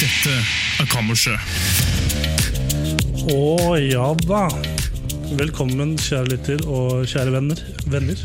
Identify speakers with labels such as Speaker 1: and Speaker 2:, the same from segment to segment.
Speaker 1: Dette er Kammerset.
Speaker 2: Å ja da. Velkommen, kjære lytter og kjære venner. venner.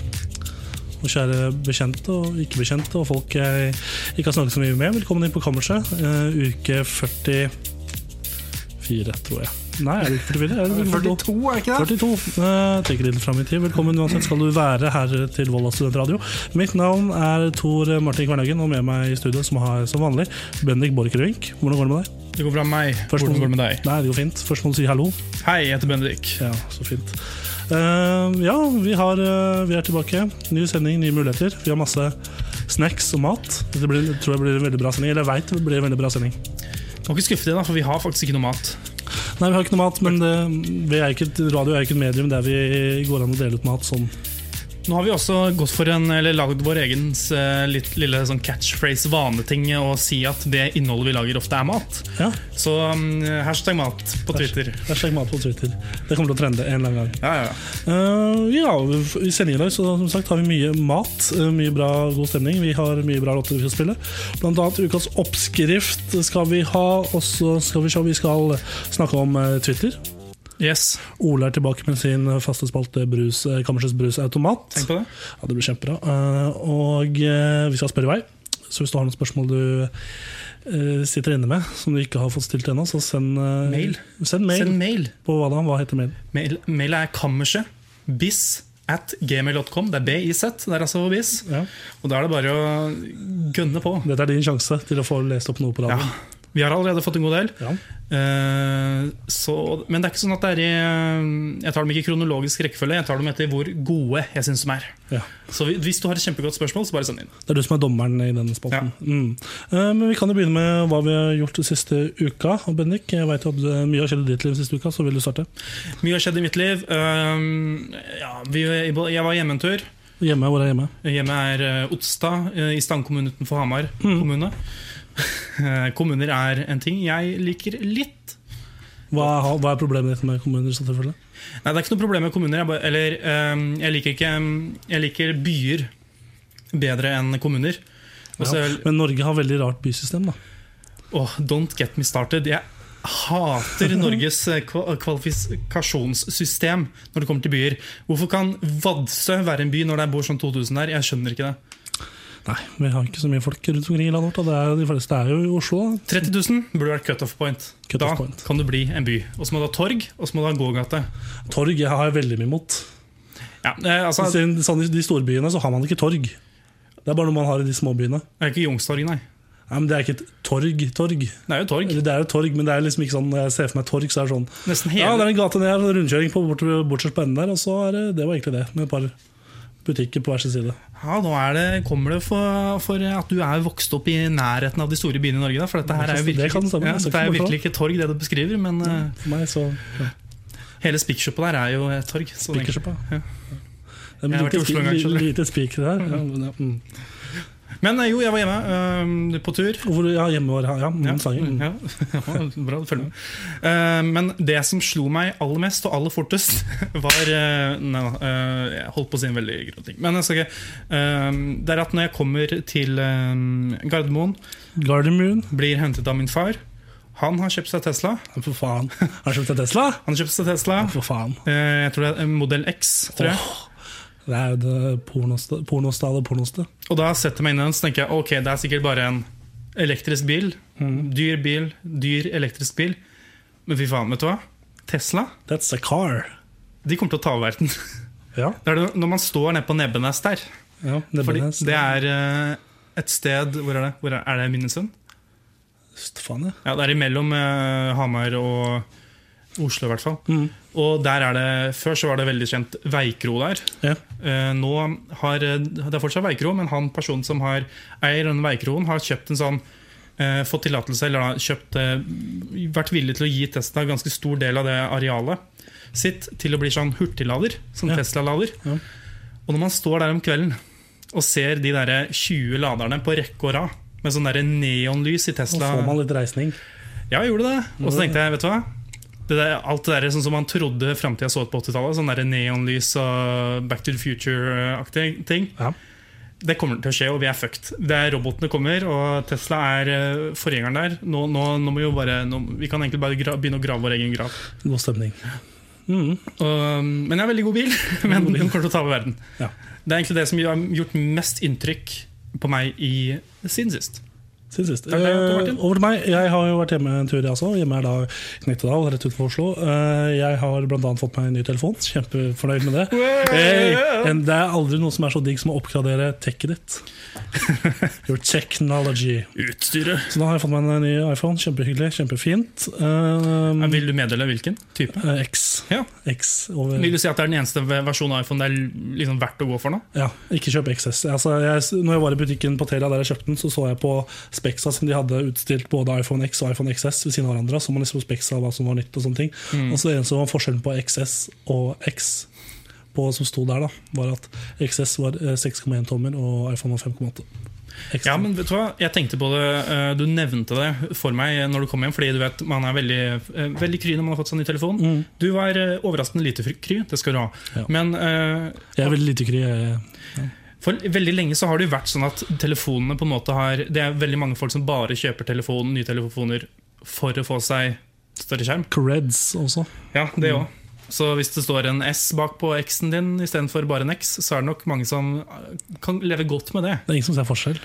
Speaker 2: Og kjære bekjente og ikke bekjente og folk jeg ikke har snakket så mye med. Velkommen inn på kammerset. eh, uke 44, tror jeg. Nei, er det ikke 44? Er det 42?
Speaker 3: er det ikke
Speaker 2: 42. Eh, trekker litt frem i tid. Velkommen uansett skal du være her til Volda studentradio. Mitt navn er Tor Martin Kvernhaugen, og med meg i studio som har som vanlig Bendik Borchgrevink. Hvordan går det med deg?
Speaker 1: Det går bra med meg.
Speaker 2: Først
Speaker 1: Hvordan
Speaker 2: må-
Speaker 1: går det med deg?
Speaker 2: Nei, det går fint. Først må du si hallo.
Speaker 1: Hei, jeg heter Bendik.
Speaker 2: Ja, så fint. Eh, ja, vi, har, eh, vi er tilbake. Ny sending, nye muligheter. Vi har masse snacks og mat. Det blir, tror jeg blir en veldig bra sending. Eller jeg vet det blir en veldig bra sending.
Speaker 1: Må ikke skuffe deg, da, for vi har faktisk ikke noe mat.
Speaker 2: Nei, vi har ikke noe mat, men det, vi er ikke, et- radio er ikke et medium der vi går an å dele ut mat sånn.
Speaker 1: Nå har vi også gått for en, eller lagd vår egen eh, litt, lille sånn catchphrase-vaneting og si at det innholdet vi lager, ofte er mat.
Speaker 2: Ja,
Speaker 1: Så mm, hashtag mat på Twitter.
Speaker 2: Hashtag mat på Twitter. Det kommer til å trende en eller annen gang.
Speaker 1: Ja, ja, ja.
Speaker 2: Eh, ja, i sendingen i dag så, som sagt, har vi mye mat, eh, mye bra, god stemning. Vi har mye bra låter vi skal spille. Blant annet ukas oppskrift skal vi ha. Og så skal vi se om vi skal snakke om eh, Twitter.
Speaker 1: Yes,
Speaker 2: Ole er tilbake med sin faste spalte brus, eh, Kammersets brusautomat.
Speaker 1: tenk på det.
Speaker 2: Ja, det blir kjempebra. Eh, og eh, vi skal spørre i vei. Så hvis du har noen spørsmål du eh, sitter inne med, som du ikke har fått stilt ennå, så send eh,
Speaker 1: Mail.
Speaker 2: Send mail
Speaker 1: Send mail.
Speaker 2: på hva da? Hva heter mailen?
Speaker 1: Mail, mail er kammerset. Biz at gmail.com. Det er BIZ. Det er altså biz.
Speaker 2: Ja.
Speaker 1: Og da er det bare å gønne på.
Speaker 2: Dette er din sjanse til å få lest opp noe på
Speaker 1: Ja.
Speaker 2: radioen.
Speaker 1: Vi har allerede fått en god del.
Speaker 2: Ja.
Speaker 1: Eh, så, men det er ikke sånn at det er i eh, Jeg tar dem ikke i kronologisk rekkefølge, jeg tar dem etter hvor gode jeg syns de er.
Speaker 2: Ja.
Speaker 1: Så vi- hvis du har et kjempegodt spørsmål, så bare send inn.
Speaker 2: Det er du som er dommeren i denne spalten. Mm. Eh, Men vi kan jo begynne med hva vi har gjort den siste uka. Og Bendik, jeg vet jo at eh, mye har skjedd i ditt liv siste uka, så vil du starte.
Speaker 1: Mye har skjedd i mitt liv. Eh, ja, vi, jeg var hjemme en tur.
Speaker 2: Hjemme, hvor er hjemme?
Speaker 1: Hjemme er eh, Otstad eh, i Stange kommune utenfor Hamar kommune. Eh, Kommuner er en ting jeg liker litt.
Speaker 2: Hva, har- hva er problemet ditt med kommuner? så selvfølgelig?
Speaker 1: Nei, det er ikke noe problem med kommuner. Jeg, bare, eller, eh, jeg, liker ikke, jeg liker byer bedre enn kommuner. Og så-
Speaker 2: Ja. Men Norge har veldig rart bysystem, da.
Speaker 1: Åh, don't get me started. Jeg hater Norges eh, kva- kvalifikasjonssystem når det kommer til byer. Hvorfor kan Vadsø være en by når det bor sånn 2000 der? Jeg skjønner ikke det.
Speaker 2: Nei, vi har ikke så mye folk rundt omkring i landet vårt. Og det er, de fleste er jo i Oslo. da.
Speaker 1: 30 000 burde vært cut-off point.
Speaker 2: Cut
Speaker 1: da
Speaker 2: off point.
Speaker 1: kan det bli en by. Og så må du ha torg, og så må du ha gågate.
Speaker 2: Torg jeg har jeg veldig mye imot.
Speaker 1: Ja, eh, altså,
Speaker 2: Altså, I sånn, i de storbyene så har man ikke torg. Det er bare noe man har i de småbyene.
Speaker 1: det er ikke Youngstorget, nei.
Speaker 2: Nei, men Det er ikke et torg-torg.
Speaker 1: Det er jo torg.
Speaker 2: Eller det er jo torg, men det er liksom ikke sånn når jeg ser for meg torg, så er det sånn
Speaker 1: Nesten
Speaker 2: Ja, det
Speaker 1: hele,
Speaker 2: er en gate ned her, en rundkjøring på bort, bortsett på enden der, og så er det, det var egentlig det. Med et par butikker på hver sin side.
Speaker 1: ja, nå er det, kommer det for, for at du er vokst opp i nærheten av de store byene i Norge. Da, for dette her er jo
Speaker 2: Det kan
Speaker 1: virkelig,
Speaker 2: stemme,
Speaker 1: ja,
Speaker 2: jeg skal ikke
Speaker 1: det er jo
Speaker 2: bortfra.
Speaker 1: virkelig ikke torg, det du beskriver. Men eh,
Speaker 2: For meg så ja,
Speaker 1: hele Spikersuppa der er jo et torg. så det-
Speaker 2: Spikersuppa.
Speaker 1: Ja.
Speaker 2: Det er
Speaker 1: Jeg har vært i
Speaker 2: lite,
Speaker 1: Oslo en gang, skjønner
Speaker 2: spi-
Speaker 1: du.
Speaker 2: lite spiker her. Ja, men, ja, mm.
Speaker 1: Men eh, jo, jeg var hjemme eh, på tur.
Speaker 2: Og hvor- ja, hjemme var ja, mm, sangen. Mm.
Speaker 1: Ja, bra, du følger med. Eh, men det som slo meg aller mest og aller fortest, var eh, Nei da, eh, jeg holdt på å si en veldig grå ting. Men jeg skal ikke. Eh, det er at når jeg kommer til eh, Gardermoen,
Speaker 2: Gardermoon.
Speaker 1: blir hentet av min far. Han har kjøpt seg Tesla.
Speaker 2: Ja, For faen. Har du kjøpt en Tesla?
Speaker 1: Han har kjøpt seg Tesla
Speaker 2: For faen.
Speaker 1: eh, Jeg tror det er en modell X. Tror jeg.
Speaker 2: Åh, det er jo det pornoste, pornoste av det pornoste.
Speaker 1: Og da setter jeg meg inn i den Så tenker jeg, ok, det er sikkert bare en elektrisk bil. Dyr bil, dyr elektrisk bil. Men fy faen, vet du hva? Tesla
Speaker 2: That's a car.
Speaker 1: De kommer til å ta over verden.
Speaker 2: Ja.
Speaker 1: Det er det når man står nede på Nebbenes der.
Speaker 2: ja
Speaker 1: Fordi
Speaker 2: Nebbenes.
Speaker 1: det er eh, et sted Hvor er det? Hvor er, er det Minnesund?
Speaker 2: Faen, ja.
Speaker 1: Ja, det er imellom eh, Hamar og Oslo, i hvert fall. Og der er det, Før så var det veldig kjent Veikro der.
Speaker 2: Ja.
Speaker 1: Eh, nå har, Det er fortsatt veikro, men han personen som har, eier denne veikroen, har kjøpt en sånn eh, fått tillatelse, eller da, kjøpt, eh, vært villig til å gi Tesla en ganske stor del av det arealet sitt til å bli sånn hurtiglader, som
Speaker 2: Ja.
Speaker 1: Tesla-lader.
Speaker 2: Ja.
Speaker 1: Og når man står der om kvelden og ser de der 20 laderne på rekke og rad, med sånn der neonlys i
Speaker 2: Så
Speaker 1: Tesla
Speaker 2: får man litt reisning.
Speaker 1: ja, jeg gjorde det. Og så tenkte jeg, vet du hva? Det der, alt det der sånn som man trodde framtida så ut på 80-tallet, sånn der neonlys og Back to the Future-aktige ting,
Speaker 2: Ja.
Speaker 1: det kommer til å skje, og vi er fucked. Det er Robotene kommer, og Tesla er eh, forgjengeren der. Nå, nå, nå må vi jo bare nå, Vi kan egentlig bare gra, begynne å grave vår egen grav.
Speaker 2: God stemning. Mm.
Speaker 1: Og, men jeg er en veldig god bil, men den kommer til å ta over verden.
Speaker 2: Ja.
Speaker 1: Det er egentlig det som har gjort mest inntrykk på meg i, siden sist.
Speaker 2: Siden sist.
Speaker 1: Takk, deg, Otto Martin.
Speaker 2: Eh, over til meg. Jeg har jo vært hjemme en tur, jeg også. Hjemme er da Knettedal, rett utenfor Oslo. Eh, jeg har bl.a. fått meg en ny telefon. Kjempefornøyd med det. Hey, en- det er aldri noe som er så digg som å oppgradere tech-et ditt. Your technology.
Speaker 1: Utstyret.
Speaker 2: Så da har jeg fått meg en ny iPhone. Kjempehyggelig, kjempefint. Eh,
Speaker 1: Vil du meddele hvilken type?
Speaker 2: eh, X.
Speaker 1: Ja.
Speaker 2: X over
Speaker 1: Vil du si at det er den eneste versjonen av iPhone det er liksom verdt å gå for nå?
Speaker 2: Ja, ikke kjøp XS. Altså, jeg, når jeg var i butikken på Telia der jeg kjøpte den, så så jeg på Spexa som de hadde utstilt både iPhone X og iPhone XS ved siden av hverandre. Så man liksom Spexa hva som var nytt og sånne ting.
Speaker 1: Mm.
Speaker 2: Og så eneste var forskjellen på XS og X på, som sto der, da, var at XS var eh, 6,1 tommer og iPhone var 5,8. X-
Speaker 1: Ja, men vet Du hva? Jeg tenkte på det, eh, du nevnte det for meg når du kom hjem. Fordi du vet, man er veldig, eh, veldig kry når man har fått seg ny telefon.
Speaker 2: Mm.
Speaker 1: Du var eh, overraskende lite fry- kry, det skal du ha.
Speaker 2: Ja.
Speaker 1: Men eh,
Speaker 2: Jeg er veldig lite kry. jeg-
Speaker 1: for veldig lenge så har det jo vært sånn at telefonene på en måte har Det er veldig mange folk som bare kjøper telefon, nye telefoner for å få seg større skjerm.
Speaker 2: Creds også.
Speaker 1: Ja, det òg. Så hvis det står en S bak på X-en din istedenfor bare en X, så er det nok mange som eh, kan leve godt med det.
Speaker 2: Det er ingen som ser forskjell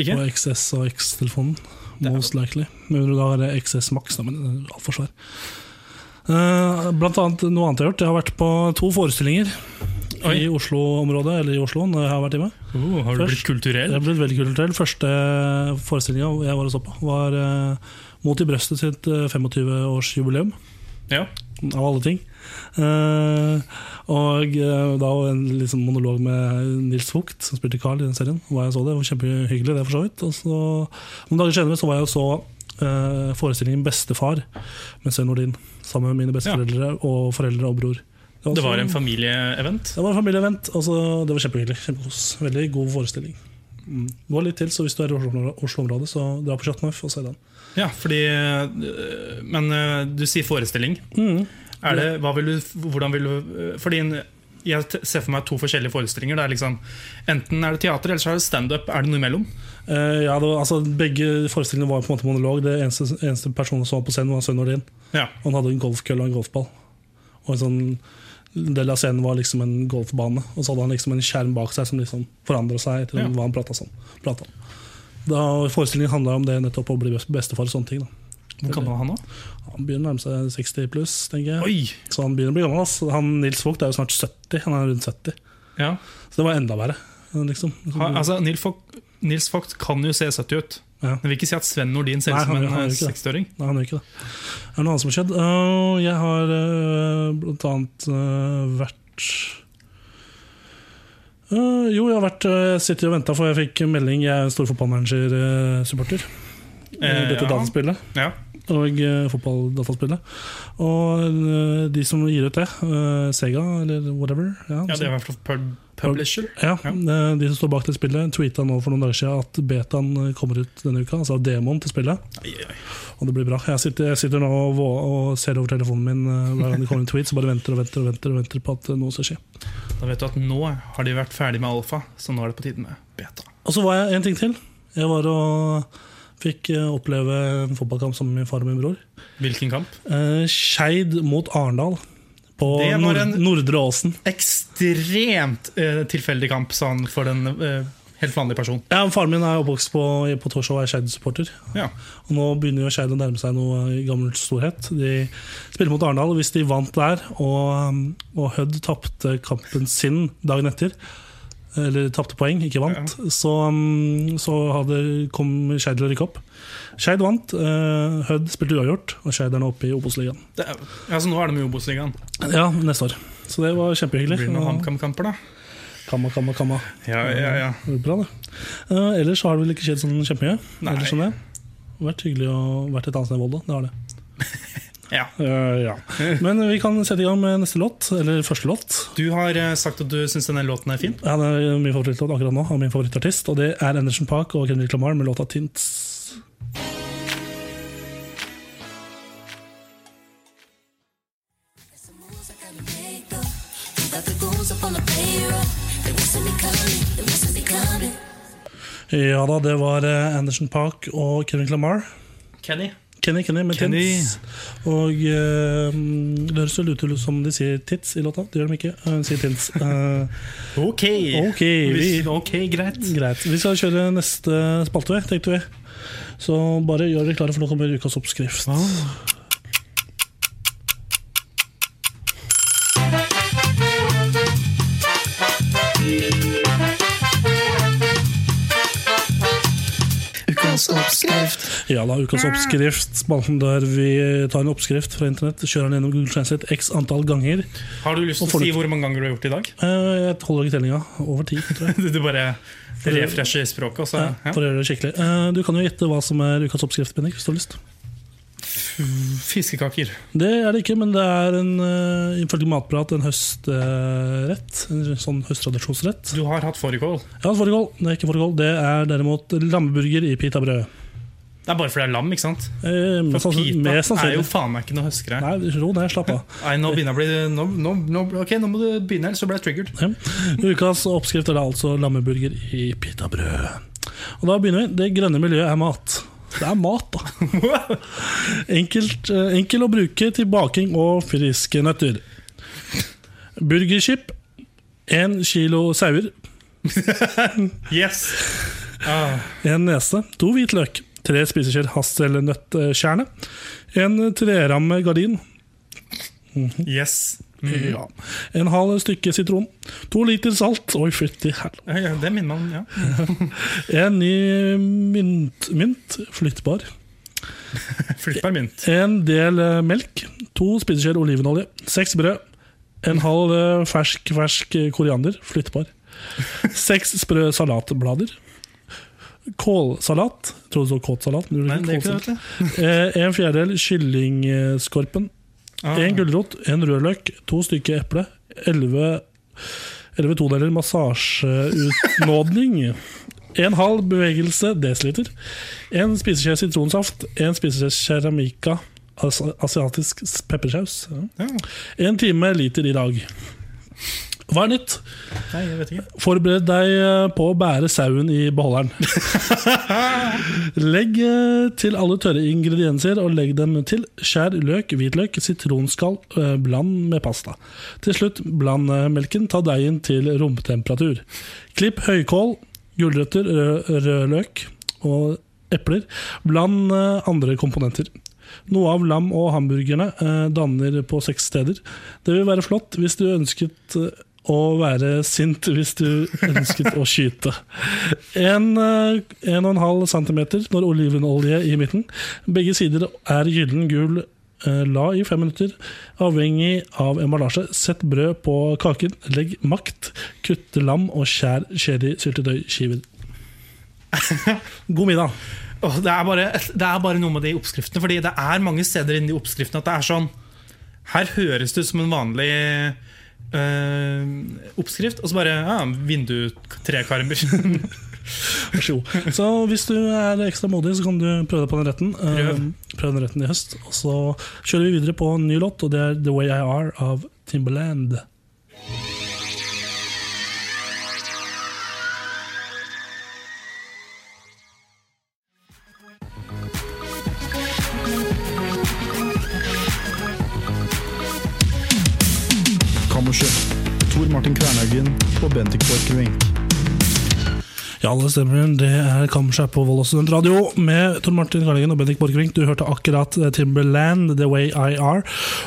Speaker 1: Ikke?
Speaker 2: på XS og X-telefonen.
Speaker 1: er-
Speaker 2: Most likely. Men du da har det XS Max, da, men det er altfor svær. Eh, blant annet noe annet jeg har gjort. Jeg har vært på to forestillinger
Speaker 1: Oi.
Speaker 2: i Oslo-området. Eller i Oslo, når jeg har vært hjemme.
Speaker 1: Oh, har
Speaker 2: Først-
Speaker 1: du blitt kulturell?
Speaker 2: Det har blitt veldig kulturell. Første forestillinga jeg var og så på, var eh, Mot i brøstet sitt eh, 25-årsjubileum.
Speaker 1: Ja.
Speaker 2: Av alle ting. Eh, og eh, da var en liksom, monolog med Nils Vogt, som spilte Carl i den serien. Og jeg så det, det var Kjempehyggelig, det, for så vidt. Og så, noen dager senere så var jeg og så eh, forestillingen 'Bestefar' med Svein Nordin. Sammen med mine besteforeldre og foreldre og bror.
Speaker 1: Det var
Speaker 2: også-
Speaker 1: en familieevent.
Speaker 2: det var en familieevent. og så- det var kjempehyggelig. Kjempekos. Veldig god forestilling.
Speaker 1: Mm.
Speaker 2: Gå litt til, så hvis du er i Oslo- Oslo-området, så dra på Chat Knife og se den.
Speaker 1: Ja, fordi øh, Men øh, du sier forestilling. Er det, hva vil du, hvordan vil du øh, Fordi en- jeg t- ser for meg to forskjellige forestillinger. Det er liksom, enten er det teater, eller så er det standup. Er det noe imellom?
Speaker 2: Eh, ja, det var, altså, begge forestillingene var på en måte monolog. Det eneste, eneste personen som var på scenen, var Svein Nordin.
Speaker 1: Ja.
Speaker 2: Og han hadde en golfkølle og en golfball. Og en sånn en del av scenen var liksom en golfbane, og så hadde han liksom en skjerm bak seg som liksom forandra seg etter
Speaker 1: Ja.
Speaker 2: hva han prata om. pratet om. Da Forestillingen handla om det nettopp å bli best- bestefar og sånne ting. Da.
Speaker 1: Hvor gammel er han nå?
Speaker 2: Han begynner å nærme seg 60 pluss, tenker jeg.
Speaker 1: Oi!
Speaker 2: Så han begynner å bli gammel. ass. Han, Nils Vogt er jo snart 70. Han er rundt 70.
Speaker 1: Ja.
Speaker 2: Så det var enda verre. Liksom.
Speaker 1: Ha, altså, Nils Vogt, Nils Vogt kan jo se 70 ut.
Speaker 2: Ja.
Speaker 1: Jeg vil ikke si at Sven Nordin ser
Speaker 2: Nei,
Speaker 1: ut som
Speaker 2: han-
Speaker 1: en
Speaker 2: han
Speaker 1: øh,
Speaker 2: gjør ikke det.
Speaker 1: 60-åring.
Speaker 2: Nei, han gjør ikke det. Er det noe annet som har skjedd? Øh, jeg har øh, blant annet øh, vært Øh, Jo, jeg har vært øh, sittet og venta, for jeg fikk melding. Jeg er en stor fotballmanager-supporter.
Speaker 1: Eh,
Speaker 2: dette
Speaker 1: ja.
Speaker 2: dataspillet
Speaker 1: Ja.
Speaker 2: og øh, fotballdataspillet. Og øh, de som gir ut det, øh, Sega eller whatever ja,
Speaker 1: ja, det er i hvert fall pub- publisher.
Speaker 2: ja,
Speaker 1: Ja.
Speaker 2: eh, De som står bak det spillet, tweeta nå for noen dager siden at betaen eh, kommer ut denne uka. Altså demoen til spillet.
Speaker 1: Ai, ai, ai.
Speaker 2: Og det blir bra. Jeg sitter, jeg sitter nå og, vå- og ser over telefonen min eh, hver gang det kommer en tweet, så bare venter og venter og venter, og venter på at eh, noe skal skje.
Speaker 1: Da vet du at nå har de vært ferdig med alfa, så nå er det på tide med beta.
Speaker 2: Og så var jeg en ting til. Jeg var og fikk eh, oppleve en fotballkamp sammen med min far og min bror.
Speaker 1: Hvilken kamp?
Speaker 2: Eh, Skeid mot Arendal på
Speaker 1: Det var
Speaker 2: Nord
Speaker 1: en-
Speaker 2: Nordre Åsen.
Speaker 1: ekstremt eh, tilfeldig kamp, sa han, for en eh, helt vanlig person.
Speaker 2: Ja, Faren min er oppvokst på, på Torshov og er Skeid-supporter.
Speaker 1: Ja.
Speaker 2: Og Nå begynner jo Skeid å nærme seg noe i gammel storhet. De spiller mot Arendal, og hvis de vant der, og, um, og Hødd tapte kampen sin dagen etter, eller tapte poeng, ikke vant, så, mm, så hadde, kom Skeid til å rykke opp. Skeid vant, eh, Hødd spilte uavgjort, og Skeid er nå oppe i Obos-ligaen.
Speaker 1: Det er, altså, nå er de i Obos-ligaen.
Speaker 2: Ja, neste år. Så det var
Speaker 1: Det
Speaker 2: kjempehyggelig.
Speaker 1: blir noen
Speaker 2: Og-
Speaker 1: HamKam-kamper, da.
Speaker 2: Kamma, kamma, kamma.
Speaker 1: Ja, ja, ja.
Speaker 2: Det var Bra, det. Eh, ellers så har det vel ikke skjedd sånn kjempemye.
Speaker 1: Nei.
Speaker 2: Ellers enn det. Vært hyggelig å vært et annet sted i Volda. Det har det.
Speaker 1: ja.
Speaker 2: Eh, ja. Men vi kan sette i gang med neste låt, eller første låt.
Speaker 1: Du har eh, sagt at du syns denne låten er fin.
Speaker 2: Ja, det er min favorittlåt akkurat nå, og min favorittartist. Og det er Anderson Park og Kendrick Lamar med låta 'Tints'.
Speaker 3: Some moves I gotta make up. You got the goons up on the payroll. They mustn't be coming. They mustn't be coming.
Speaker 2: Ja da, det var eh, Anderson Park og Kendrick Lamar.
Speaker 1: Kenny.
Speaker 2: Kenny Kenny med
Speaker 1: Kenny.
Speaker 2: Tints. Og eh, det høres vel ut til som de sier tits i låta. Det gjør de ikke. Eh, De sier Tints. Eh,
Speaker 1: Ok.
Speaker 2: Ok, vi-
Speaker 1: Hvis- ok, greit.
Speaker 2: greit. Vi skal kjøre neste spalte, vi, tenkte vi. Så bare gjør dere klare, for nå kommer ukas oppskrift.
Speaker 1: Ukas oppskrift.
Speaker 2: Ja da, ukas oppskrift. Spalten der vi tar en oppskrift fra internett, kjører den gjennom Google Translate x antall ganger.
Speaker 1: Har du lyst
Speaker 2: Og
Speaker 1: til å
Speaker 2: får
Speaker 1: si
Speaker 2: du-
Speaker 1: hvor mange ganger du har gjort det i dag?
Speaker 2: Eh, Jeg holder ikke tellinga. Over ti, tror jeg.
Speaker 1: Du bare refresher språket, og så
Speaker 2: Ja,
Speaker 1: ja.
Speaker 2: for å gjøre det skikkelig. Eh, Du kan jo gjette hva som er ukas oppskrift, Bendik, hvis du har lyst.
Speaker 1: Fiskekaker.
Speaker 2: Det er det ikke, men det er en, eh, ifølge Matprat en høstrett. En sånn høsttradisjonsrett.
Speaker 1: Du har hatt fårikål.
Speaker 2: Ja, fårikål. Det er ikke fårikål. Det er derimot lammeburger i pitabrød.
Speaker 1: Det er bare fordi det er lam, ikke sant?
Speaker 2: Eh, Mest
Speaker 1: For
Speaker 2: sannsyn-
Speaker 1: pita
Speaker 2: mest
Speaker 1: er jo
Speaker 2: sannsynlig.
Speaker 1: faen meg ikke noe høskere. Nei,
Speaker 2: Nei, ro ned, slapp av.
Speaker 1: nå begynner jeg å bli nå, nå, nå, Ok, nå må du begynne, ellers så blir jeg triggered.
Speaker 2: Ja. Ukas oppskrift er da altså lammeburger i pitabrød. Og da begynner vi. Det grønne miljøet er mat. Det er mat, da. Enkelt, eh, enkel å bruke til baking og friske nøtter. Burgerchip. Én kilo sauer.
Speaker 1: Yes! Ah,
Speaker 2: En nese. To hvitløk. Tre spiseskjeer hasselnøttkjerne. En treramme gardin.
Speaker 1: yes. Mm.
Speaker 2: Ja. En halv stykke sitron. To liter salt. Oi, fytti helvete.
Speaker 1: Ja, ja, det minner meg om ja.
Speaker 2: En ny mynt, mynt flyttbar.
Speaker 1: Flyttbar mynt.
Speaker 2: En del eh, melk. To spiseskjeer olivenolje. Seks brød. En halv eh, fersk, fersk eh, koriander. Flyttbar. Seks sprø salatblader. Kålsalat. Jeg Tror du så kåtsalat? Men
Speaker 1: Nei, det er ikke
Speaker 2: kålsalat.
Speaker 1: det, vet du.
Speaker 2: Eh, En fjerdedel kyllingskorpen.
Speaker 1: Ah.
Speaker 2: En gulrot. En rødløk. To stykker eple. Elleve elleve todeler massasjeutnådning. En halv bevegelse desiliter. En spiseskje sitronsaft. En spiseskje keramica as asiatisk peppersaus. Ja.
Speaker 1: Ja.
Speaker 2: En time liter i dag. Hva er nytt?
Speaker 1: Nei, jeg vet ikke.
Speaker 2: Forbered deg eh, på å bære sauen i beholderen. legg eh, til alle tørre ingredienser og legg dem til. Skjær løk, hvitløk, sitronskall. eh, Bland med pasta. Til slutt, bland eh, melken. Ta deigen til romtemperatur. Klipp høykål, gulrøtter, rød, rødløk og epler. Bland eh, andre komponenter. Noe av lam og hamburgerne eh, danner på seks steder. Det vil være flott hvis du ønsket eh, å være sint hvis du ønsket å skyte. En, eh, en og en halv centimeter når olivenolje i midten. Begge sider er gyllen gul. Eh, La i fem minutter, avhengig av emballasje. Sett brød på kaken, legg makt, kutte lam og skjær sherry-syltetøyskiver. God middag.
Speaker 1: Åh, det, er bare, det er bare noe med de oppskriftene. Fordi det er mange steder inni de oppskriftene at det er sånn Her høres det ut som en vanlig øh, oppskrift, og så bare ja, vindutrekarmer.
Speaker 2: Vær så god. Så hvis du er ekstra modig, så kan du prøve deg på den retten. Eh,
Speaker 1: Prøv.
Speaker 2: Prøv den retten i høst. Og så kjører vi videre på en ny låt, og det er The Way I Are av Timberland.
Speaker 4: Kammerset. Tor Martin Kvernhaugen og Bendik Borchgrevink.
Speaker 2: Ja, Ja, det stemmer. Det er Kamskjær på Vold og Studentradio med Tor Martin Karlingen og Bendik Borchgrevink. Du hørte akkurat eh, Timberland, The Way I Are.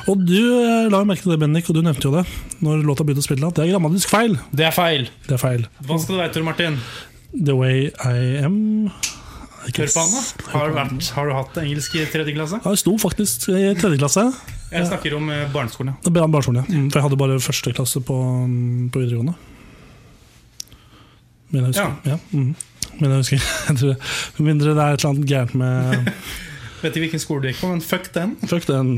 Speaker 2: Og du eh, la jo merke til det, Bendik, og du nevnte jo det når låta begynte å spille. At det er grammatisk feil.
Speaker 1: Det er feil.
Speaker 2: Det er feil.
Speaker 1: Hva skal du være, Tor Martin?
Speaker 2: The Way I Am I
Speaker 1: Hør
Speaker 2: guess.
Speaker 1: på han, da. Har du, vært, har du hatt engelsk i tredje klasse?
Speaker 2: Ja, jeg sto faktisk i tredje klasse.
Speaker 1: Jeg snakker om eh, barneskolen. ja.
Speaker 2: Det ble han barneskolen, ja. Mm. For jeg hadde bare første klasse på, mm, på videregående. Men jeg husker. Ja. mhm. Men jeg husker. Jeg tror, med mindre det er et eller annet gærent med
Speaker 1: Vet ikke hvilken skole du gikk på, men fuck den.
Speaker 2: Fuck den.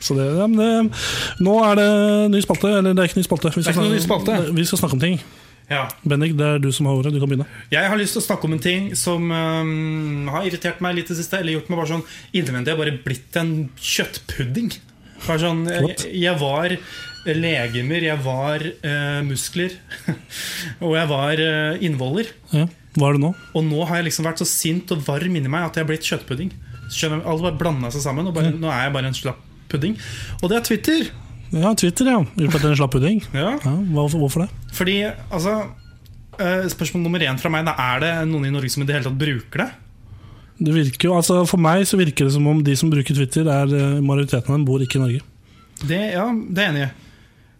Speaker 2: Så det, ja, men det, nå er det ny spalte. Eller det er ikke ny spalte. Vi
Speaker 1: Det er ikke noe ny spalte.
Speaker 2: vi skal snakke om ting.
Speaker 1: Ja.
Speaker 2: Bendik, det er du som har ordet. Du kan begynne.
Speaker 1: Jeg har lyst til å snakke om en ting som øhm, har irritert meg litt i det siste. Eller gjort meg bare sånn innvendig. Jeg har bare blitt en kjøttpudding. Bare sånn, jeg,
Speaker 2: Flott.
Speaker 1: jeg var legemer, jeg var øh, muskler, og jeg var øh, innvoller.
Speaker 2: Ja. Hva er det nå?
Speaker 1: Og nå har jeg liksom vært så sint og varm inni meg at jeg har blitt kjøttpudding. Skjønner, du? alt bare blanda seg sammen, og bare, nå er jeg bare en slapp pudding. Og det er Twitter!
Speaker 2: Ja, Twitter, ja. Gjort etter en slapp pudding.
Speaker 1: Ja.
Speaker 2: Ja, hva- hvorfor det?
Speaker 1: Fordi, altså øh, Spørsmål nummer én fra meg da, er det noen i Norge som i det hele tatt bruker det?
Speaker 2: Det virker jo, altså For meg så virker det som om de som bruker Twitter, er eh, majoriteten av dem bor ikke i Norge.
Speaker 1: Det, ja, det er jeg enig i.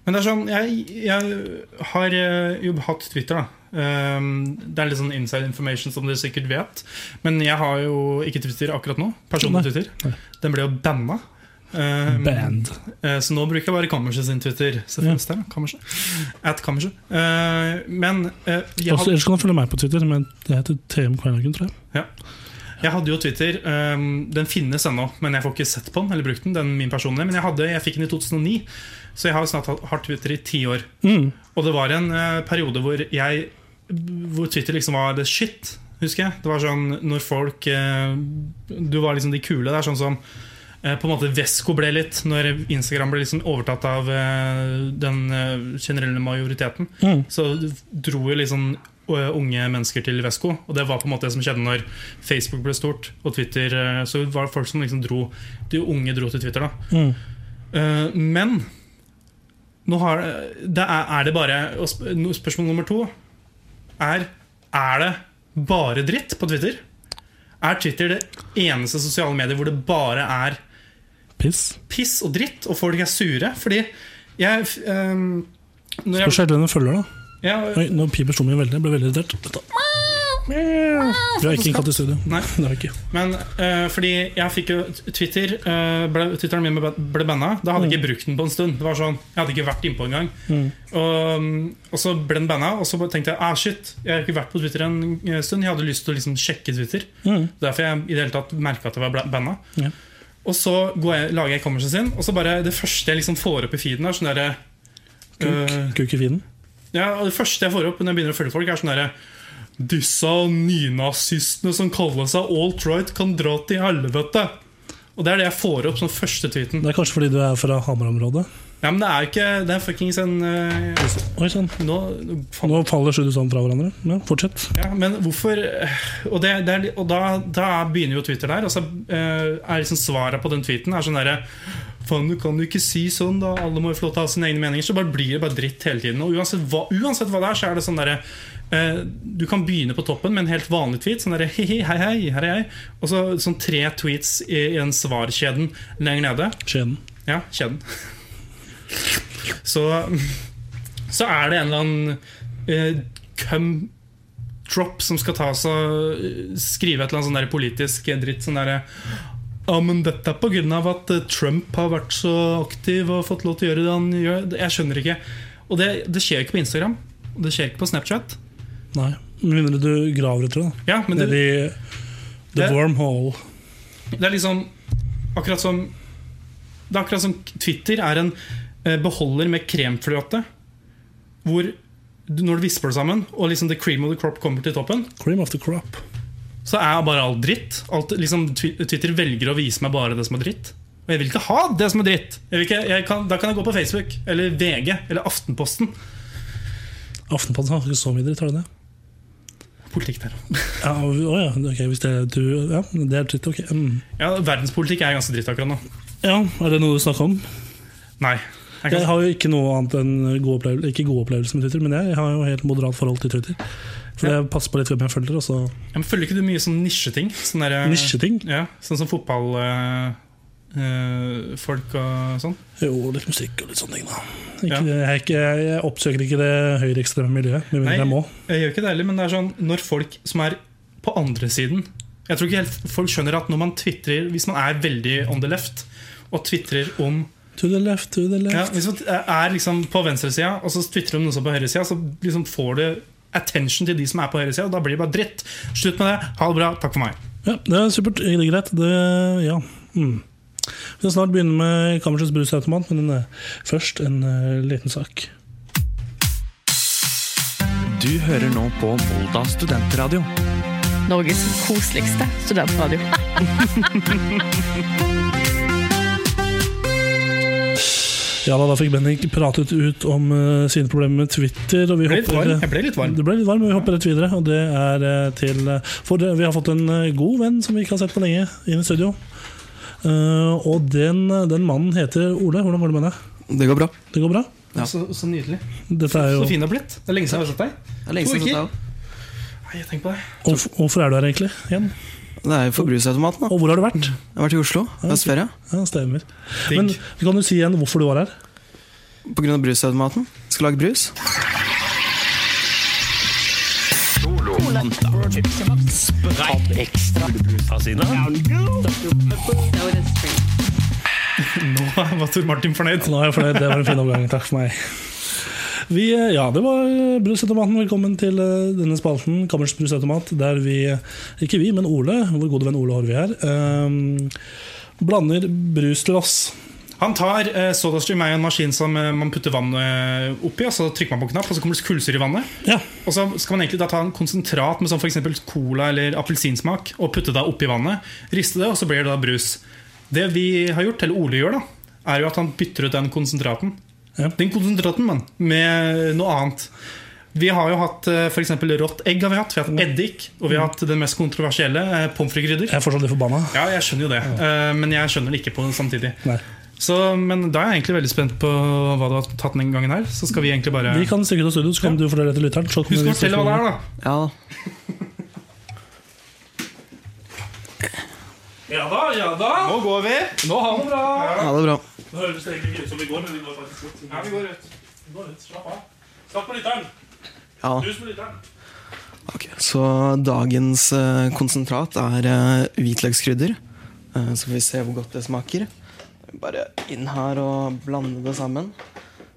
Speaker 1: Men det er sånn, jeg, jeg har eh, jo hatt Twitter, da. Um, det er litt sånn inside information som dere sikkert vet. Men jeg har jo ikke Twitter akkurat nå. Personlig
Speaker 2: Nei. Nei.
Speaker 1: Twitter. Den ble jo banna. Um,
Speaker 2: Band.
Speaker 1: eh, Så nå bruker jeg bare Kammerset sin Twitter. Så finnes det, da, Kammerset. At Kammerset. Eh, men eh, jeg,
Speaker 2: Også,
Speaker 1: had,
Speaker 2: ellers kan du følge meg på Twitter, men det heter TM Kvernhagen, tror jeg.
Speaker 1: jeg hadde jo Twitter. um, den finnes ennå, men jeg får ikke sett på den eller brukt den. den er min personlige, men jeg, hadde, jeg fikk den i 2009, så jeg har snart hatt hatt Twitter i ti år.
Speaker 2: Mm.
Speaker 1: Og det var en eh, periode hvor jeg Hvor Twitter liksom var the shit, husker jeg. Det var sånn når folk eh, Du var liksom de kule. Det er sånn som eh, på en måte Vesko ble litt når Instagram ble liksom overtatt av eh, den eh, generelle majoriteten.
Speaker 2: Mm.
Speaker 1: Så dro jo liksom eh, unge mennesker til Vesko, og det var på en måte det som skjedde når Facebook ble stort og Twitter eh, Så var det folk som liksom dro De unge dro til Twitter, da.
Speaker 2: Mm.
Speaker 1: Eh, men nå har, det er, er det bare og sp- no- Spørsmål nummer to er Er det bare dritt på Twitter? Er Twitter det eneste sosiale mediet hvor det bare er
Speaker 2: Piss.
Speaker 1: piss og dritt, og folk er sure? Fordi jeg f- ehm, når
Speaker 2: Hvor
Speaker 1: jeg,
Speaker 2: sjelden den følger, da?
Speaker 1: jeg
Speaker 2: Oi, nå piper stommen veldig. Jeg ble veldig irritert. Dette. Vi har ikke en katt i studio.
Speaker 1: Nei.
Speaker 2: Det har vi ikke.
Speaker 1: Men eh, fordi jeg fikk jo t- Twitter eh, ble, Twitteren min ble, ble banna. Da hadde jeg ikke brukt den på en stund. Det var sånn, Jeg hadde ikke vært innpå engang.
Speaker 2: Mm.
Speaker 1: Og, og så ble den banna, og så bare tenkte jeg ah shit, jeg har ikke vært på Twitter en eh, stund. Jeg hadde lyst til å liksom sjekke Twitter.
Speaker 2: Mm.
Speaker 1: Derfor jeg i det hele tatt merka at jeg var bla- banna.
Speaker 2: Ja.
Speaker 1: Og så går jeg, lager jeg commercen sin, og så bare det første jeg liksom får opp i feeden, er sånn derre eh,
Speaker 2: Kuk i finen.
Speaker 1: ja, og Det første jeg får opp når jeg begynner å følge folk, er sånn derre Disse nynazistene som kaller seg alt-right, kan dra til helvete. Og det er det jeg får opp som første tweeten.
Speaker 2: Det er kanskje fordi du er fra Hamar-området.
Speaker 1: Ja, men det er jo ikke Det er fuckings en eh,
Speaker 2: Oi sann.
Speaker 1: Nå faen,
Speaker 2: Nå faller Sjudu Sand fra hverandre. Ja, fortsett.
Speaker 1: Ja, men hvorfor eh, Og, det, det er, og da, da begynner jo Twitter der, og så eh, er liksom svaret på den tweeten er sånn derre Faen, du kan jo ikke si sånn, da. Alle må jo få lov til å ha sine egne meninger. Så bare blir det bare dritt hele tiden. Og uansett hva, uansett hva det er, så er det sånn derre eh, Du kan begynne på toppen med en helt vanlig tweet. Sånn derre hei, hei, hei, hei, her er jeg. Og så sånn tre tweets i, i den svarkjeden lenger nede.
Speaker 2: Skien.
Speaker 1: Ja, kjeden. Så, så er det en eller annen eh, cum drop som skal ta oss og eh, skrive et eller annet sånn der politisk dritt. Sånn derre Ja, men dette er på grunn av at eh, Trump har vært så aktiv og fått lov til å gjøre det han gjør. Jeg skjønner ikke. Og det, det skjer ikke på Instagram. Og det skjer ikke på Snapchat.
Speaker 2: Nei. Med mindre du graver etter det.
Speaker 1: Ja, men det,
Speaker 2: Nedi The
Speaker 1: Det-
Speaker 2: Wormhole.
Speaker 1: Det er liksom Akkurat som Det er akkurat som Twitter er en eh, beholder med kremfløte. Hvor du, når du visper det sammen, og liksom the cream of the crop kommer til toppen,
Speaker 2: Cream of the crop.
Speaker 1: så er bare alt dritt. Alt, liksom, Twi- Twitter velger å vise meg bare det som er dritt. Og jeg vil ikke ha det som er dritt! Jeg vil ikke, jeg kan, da kan jeg gå på Facebook eller VG eller Aftenposten.
Speaker 2: Aftenposten har ikke så mye dritt, har de det?
Speaker 1: Politikk der også.
Speaker 2: Ja, å, ja. ok, hvis det, er- du, ja, det er dritt, ok. Mm.
Speaker 1: Ja, verdenspolitikk er ganske dritt akkurat nå.
Speaker 2: Ja, er det noe du snakker om?
Speaker 1: Nei. Jeg kan,
Speaker 2: Jeg har jo ikke noe annet enn god opplevelse, ikke god opplevelse med Twitter, men jeg har jo helt moderat forhold til Twitter. For jeg passer på litt hvem jeg følger. Og så
Speaker 1: Ja, men følger ikke du mye sånn nisjeting? Sånn derre-
Speaker 2: nisjeting.
Speaker 1: Ja, sånn som fotballfolk og sånn?
Speaker 2: Jo, litt musikk og litt sånne ting, da.
Speaker 1: Ja.
Speaker 2: Ikke, jeg, er ikke, jeg jeg oppsøker ikke det høyreekstreme miljøet, med
Speaker 1: Nei.
Speaker 2: mindre jeg må.
Speaker 1: Jeg gjør ikke det heller, men det er sånn når folk som er på andre siden Jeg tror ikke helt folk skjønner at når man twitrer Hvis man er veldig on the left og twitrer om
Speaker 2: To the left, to the
Speaker 1: ja,
Speaker 2: left.
Speaker 1: Hvis man er liksom på venstresida, og så twitrer om noen som er på høyresida, så liksom får du attention til de som er på høyresida, og da blir det bare dritt. Slutt med det. Ha det bra. Takk for meg.
Speaker 2: Ja, det er supert. Det er greit. Det, ja. Mm. Vi skal snart begynne med Kammersens brusautomat, men eh, først en eh, liten sak.
Speaker 4: Du hører nå på Volda studentradio.
Speaker 5: Norges koseligste studentradio.
Speaker 2: Ja da, da fikk Bennik pratet ut om eh, sine problemer med Twitter. Og vi
Speaker 1: Jeg ble litt
Speaker 2: hopper,
Speaker 1: varm. Jeg ble litt varm.
Speaker 2: Det ble litt varm, men vi hopper rett videre. Og det er eh, til eh, For det, vi har fått en eh, god venn som vi ikke har sett på lenge, inn i studio. Eh, og den, den mannen heter Ole. Hvordan går det med deg?
Speaker 6: Det går bra.
Speaker 2: Det går bra?
Speaker 6: Ja.
Speaker 1: Så, så nydelig.
Speaker 2: Dette er jo
Speaker 1: Så fin du har blitt. Det er lenge siden jeg har sett deg.
Speaker 6: Det er lenge
Speaker 1: To
Speaker 6: siden jeg har
Speaker 1: uker.
Speaker 6: sett deg.
Speaker 1: Nei, jeg tenker på det.
Speaker 2: Hvorf- Hvorfor er du her egentlig? igjen?
Speaker 6: Det er jo for brusautomaten. da.
Speaker 2: Og hvor har du vært?
Speaker 6: Jeg har vært i Oslo, høstferie.
Speaker 2: Ja, Stemmer.
Speaker 1: Digg.
Speaker 2: Men kan du si igjen hvorfor du var her?
Speaker 6: På grunn av brusautomaten. Skal lage brus.
Speaker 1: Nå var Tor Martin fornøyd.
Speaker 2: Nå er jeg fornøyd. Det var en fin omgang. Takk for meg. Vi, eh, ja, det var eh, Brusautomaten. Velkommen til eh, denne spalten, Kammers brusautomat, der vi, ikke vi, men Ole, vår gode venn Ole Horvi her, eh, blander brus til oss.
Speaker 1: Han tar eh, sodastream er jo en maskin som eh, man putter vann eh, oppi, og så trykker man på en knapp, og så kommer det kullsyre i vannet.
Speaker 2: Ja,
Speaker 1: Og så skal man egentlig da ta en konsentrat med sånn for eksempel cola eller appelsinsmak og putte det oppi vannet. Riste det, og så blir det da brus. Det vi har gjort, eller Ole gjør, da, er jo at han bytter ut den konsentraten.
Speaker 2: Ja.
Speaker 1: Den konsentraten, mann, med noe annet. Vi har jo hatt eh, for eksempel rått egg, har vi hatt, vi har hatt eddik, og vi har hatt den mest kontroversielle, eh, pommes frites-krydder.
Speaker 2: jeg er fortsatt litt forbanna.
Speaker 1: Ja, jeg skjønner jo det, eh, men jeg skjønner det ikke på samtidig.
Speaker 2: Nei.
Speaker 1: Så, men da er jeg egentlig veldig spent på hva du har tatt den gangen her. Så skal vi egentlig bare
Speaker 2: Vi kan stikke ut av studio, så kan du fortelle det til lytteren. Så kommer
Speaker 1: Husk
Speaker 2: vi
Speaker 1: å fortelle hva det er, da.
Speaker 6: Ja da.
Speaker 2: Ja da, ja da.
Speaker 1: Nå går vi. Nå har vi det bra.
Speaker 6: Ja, det er bra.
Speaker 2: Det høres egentlig ikke ut som vi går, men vi går faktisk ut.
Speaker 1: Ja, vi går ut.
Speaker 2: Vi går ut. Slapp av. Slapp på lytteren.
Speaker 6: Ja.
Speaker 2: Hus på lytteren.
Speaker 6: Ok, Så dagens eh, konsentrat er eh, hvitløkskrydder. Eh, så får vi se hvor godt det smaker. Bare inn her og blande det sammen.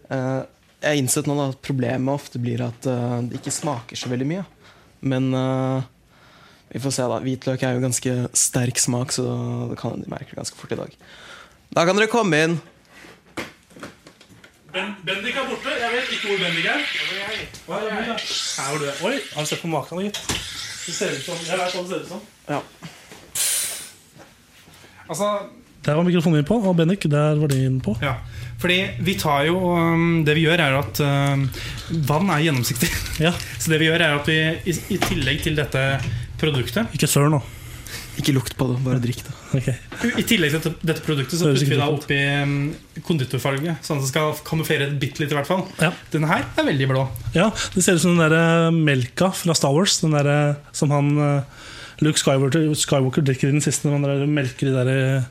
Speaker 6: Eh, jeg har innsett nå da at problemet ofte blir at eh, det ikke smaker så veldig mye. Men eh, vi får se, da. Hvitløk er jo ganske sterk smak, så det kan, de merker det ganske fort i dag. Da kan dere komme inn.
Speaker 2: Ben, Bendik er borte. Jeg vet ikke hvor Bendik er. Hva er det? Her var du. Oi, har du sett på maken, gitt? Det ser ut som, jeg vet hva det ser ut som.
Speaker 6: Ja.
Speaker 1: Altså,
Speaker 2: Der var mikrofonen min på, og Bendik, der var din på.
Speaker 1: ja. Fordi vi tar jo um, Det vi gjør, er at um, vann er gjennomsiktig.
Speaker 2: Ja,
Speaker 1: Så det vi gjør, er at vi i, i tillegg til dette produktet
Speaker 2: ikke sør nå.
Speaker 6: Ikke lukt på det, bare drikk det.
Speaker 2: Ok.
Speaker 1: I tillegg til dette, dette produktet Så
Speaker 2: Høres
Speaker 1: putter vi
Speaker 2: ikke
Speaker 1: da
Speaker 2: ut.
Speaker 1: oppi um, konditorfarge, sånn at det skal kamuflere et bitte litt, i hvert fall.
Speaker 2: Ja.
Speaker 1: Den her er veldig blå.
Speaker 2: ja, det ser ut som den der eh, melka fra Star Wars, den der eh, som han... eh, Luke Skywalker, Skywalker drikker i den siste, men der melker de der eh,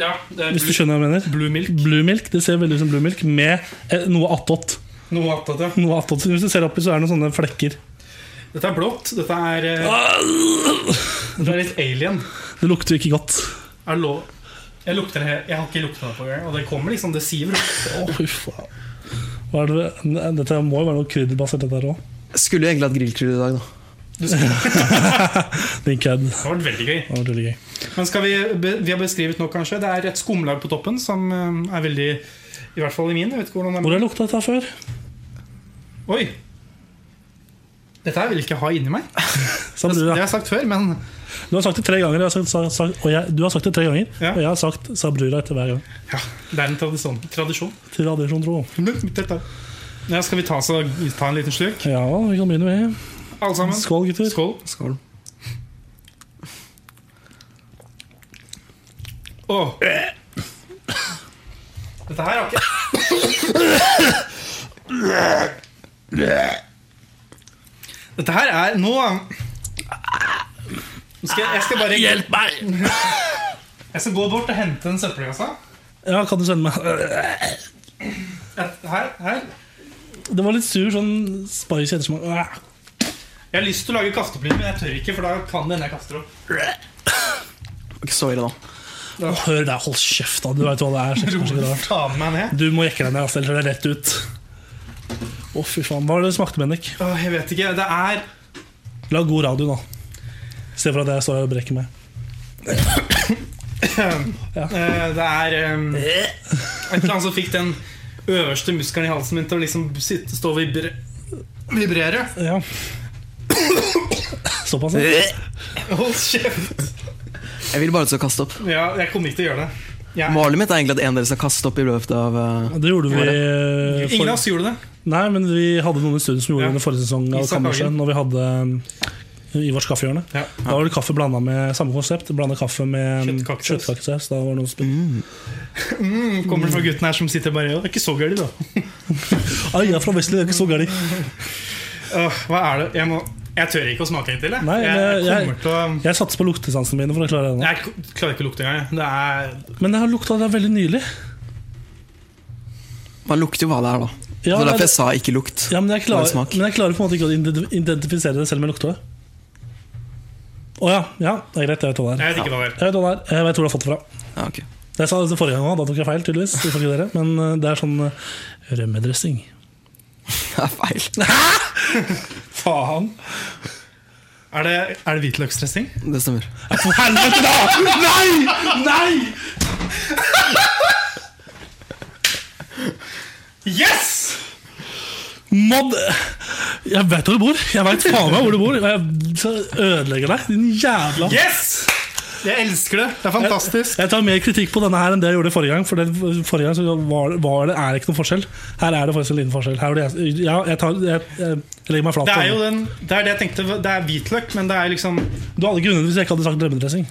Speaker 1: Ja, det er
Speaker 2: Hvis du skjønner hva jeg mener?
Speaker 1: blue milk.
Speaker 2: Blue milk, det ser veldig ut som blue milk, med eh, noe attåt.
Speaker 1: Noe annet, ja.
Speaker 2: Noe attåt. Hvis du ser oppi, så er det noen sånne flekker.
Speaker 1: Dette er blått. Dette er uh, Det er litt alien.
Speaker 2: Det lukter jo ikke godt.
Speaker 1: Er det lov? Jeg lukter det Jeg har ikke lukta det på gang, og det kommer liksom. Det siver.
Speaker 2: Å, fy faen. Hva er det? Nei, Dette må jo være noe krydderbasert, dette her òg.
Speaker 6: Skulle jo egentlig hatt grillkrydder i dag, da.
Speaker 2: Din kødd.
Speaker 1: Det har vært veldig gøy.
Speaker 2: Det var veldig gøy.
Speaker 1: Men skal vi, be- vi har beskrevet nå, kanskje. Det er et skumlag på toppen som eh, er veldig I hvert fall i min. Jeg vet ikke hvordan
Speaker 2: Hvor
Speaker 1: det
Speaker 2: har jeg lukta dette her før?
Speaker 1: er Oi! Dette her vil jeg ikke ha inni meg.
Speaker 2: Sa
Speaker 1: Det,
Speaker 2: du,
Speaker 1: det har
Speaker 2: ja.
Speaker 1: jeg sagt før, men
Speaker 2: du har sagt det tre ganger, og jeg har sagt, sa- sagt, og jeg, du har sagt det tre ganger,
Speaker 1: Ja.
Speaker 2: og jeg har sagt 'sa brura' etter hver gang.
Speaker 1: ja, det er en tradisjon. tradisjon.
Speaker 2: Tradisjon tro.
Speaker 1: Dette. er- Ja, skal vi ta, så, ta en liten slurk,
Speaker 2: Ja, vi kan begynne med
Speaker 1: alle sammen?
Speaker 2: Skål, gutter.
Speaker 1: Skål.
Speaker 6: Skål.
Speaker 1: Åh. Dette her har ikke Dette her er Nå Nå skal jeg, jeg skal bare Hjelp meg! Jeg skal gå bort og hente en altså. søppelkasse.
Speaker 2: Ja, kan du sende meg
Speaker 1: Et- Her, her.
Speaker 2: Det var litt sur sånn spicy ettersmak. Ah,
Speaker 1: Jeg har lyst til å lage kasteplynt, men jeg tør ikke, for da kan det hende jeg kaster opp.
Speaker 6: Ikke så ille, da.
Speaker 2: Hør der, hold kjeft, da. Du vet hva det er. så kanskje ikke det er rart.
Speaker 1: Ta med meg ned.
Speaker 2: Du må jekke deg ned, altså, ellers er det rett ut. Å, fy faen. Hva var det det smakte, Bendik?
Speaker 1: Åh, jeg vet ikke. Det er
Speaker 2: La god radio, da. Se for at jeg står her og brekker meg.
Speaker 1: eh, Det er um, Et eller annet som fikk den øverste muskelen i halsen min til å liksom sitte, stå og vibre, vibrere.
Speaker 2: Ja. Såpass, ja.
Speaker 1: Hold kjeft!
Speaker 6: Jeg vil bare at du skal kaste opp.
Speaker 1: Ja, jeg kommer ikke til å gjøre det. Jeg,
Speaker 6: Målet mitt er egentlig at en av dere skal kaste opp i løpet av eh,
Speaker 2: Det gjorde vi eh,
Speaker 1: ingen av
Speaker 2: for...
Speaker 1: oss gjorde det.
Speaker 2: Nei, men vi hadde noen i studio som gjorde
Speaker 1: Ja.
Speaker 2: det under forrige sesong av
Speaker 1: Isak
Speaker 2: Kammerset,
Speaker 1: Hagen.
Speaker 2: når vi hadde eh, Ivars kaffehjørne.
Speaker 1: Ja.
Speaker 2: Da var det kaffe blanda med samme konsept. Blanda kaffe med eh,
Speaker 1: Kjøttkakesaus.
Speaker 2: kjøttkakesaus. Da var det noen som
Speaker 1: Kommer det fra gutten her som sitter bare og Det er ikke så gøy, da.
Speaker 2: Ai, jeg er fra Vestli, det er ikke så gærent.
Speaker 1: Åh, hva er det? Jeg, må, jeg tør ikke å smake litt til, jeg.
Speaker 2: Nei,
Speaker 1: jeg,
Speaker 2: men jeg-
Speaker 1: kommer til å
Speaker 2: Jeg satser på luktesansene mine for å klare det nå.
Speaker 1: Jeg k- klarer ikke å lukte engang. jeg. Det er
Speaker 2: Men jeg har lukta det veldig nylig.
Speaker 6: Man lukter jo hva det er, da.
Speaker 2: Ja,
Speaker 6: det var
Speaker 2: det-
Speaker 6: derfor jeg sa ikke lukt.
Speaker 2: Ja, men jeg
Speaker 6: Det
Speaker 2: klarer,
Speaker 6: er smak.
Speaker 2: men jeg klarer på en måte ikke å ident- identifisere det selv om jeg lukter det. Å ja, ja, det er greit. Jeg vet hva det er.
Speaker 1: Jeg vet ikke hva det er.
Speaker 2: Jeg vet, hva det er. jeg vet hvor du har fått det fra.
Speaker 6: Ja, ok.
Speaker 2: Det sa jeg forrige gang òg, da tok jeg feil, tydeligvis. Vi får ikke dere. Men eh, det er sånn eh, rømmedressing.
Speaker 6: Det er feil.
Speaker 2: Faen!
Speaker 1: Er det, er det hvitløksdressing?
Speaker 6: Det stemmer.
Speaker 2: For helvete, da! Nei! Nei!
Speaker 1: Yes!
Speaker 2: Mod Jeg veit hvor du bor. Jeg veit faen meg hvor du bor. Jeg skal ødelegge deg, din jævla
Speaker 1: Yes! Jeg elsker det. Det er fantastisk.
Speaker 2: Jeg tar mer kritikk på denne her enn det jeg gjorde forrige gang. For den forrige gang så var, var det, er det ikke noen forskjell. Her er det faktisk en liten forskjell. Her er det, ja, jeg, tar, jeg, jeg, jeg legger meg flat.
Speaker 1: Det er jo den, det er det jeg tenkte. Det er hvitløk, men det er liksom
Speaker 2: Du hadde ikke vunnet hvis jeg ikke hadde sagt drømmedressing.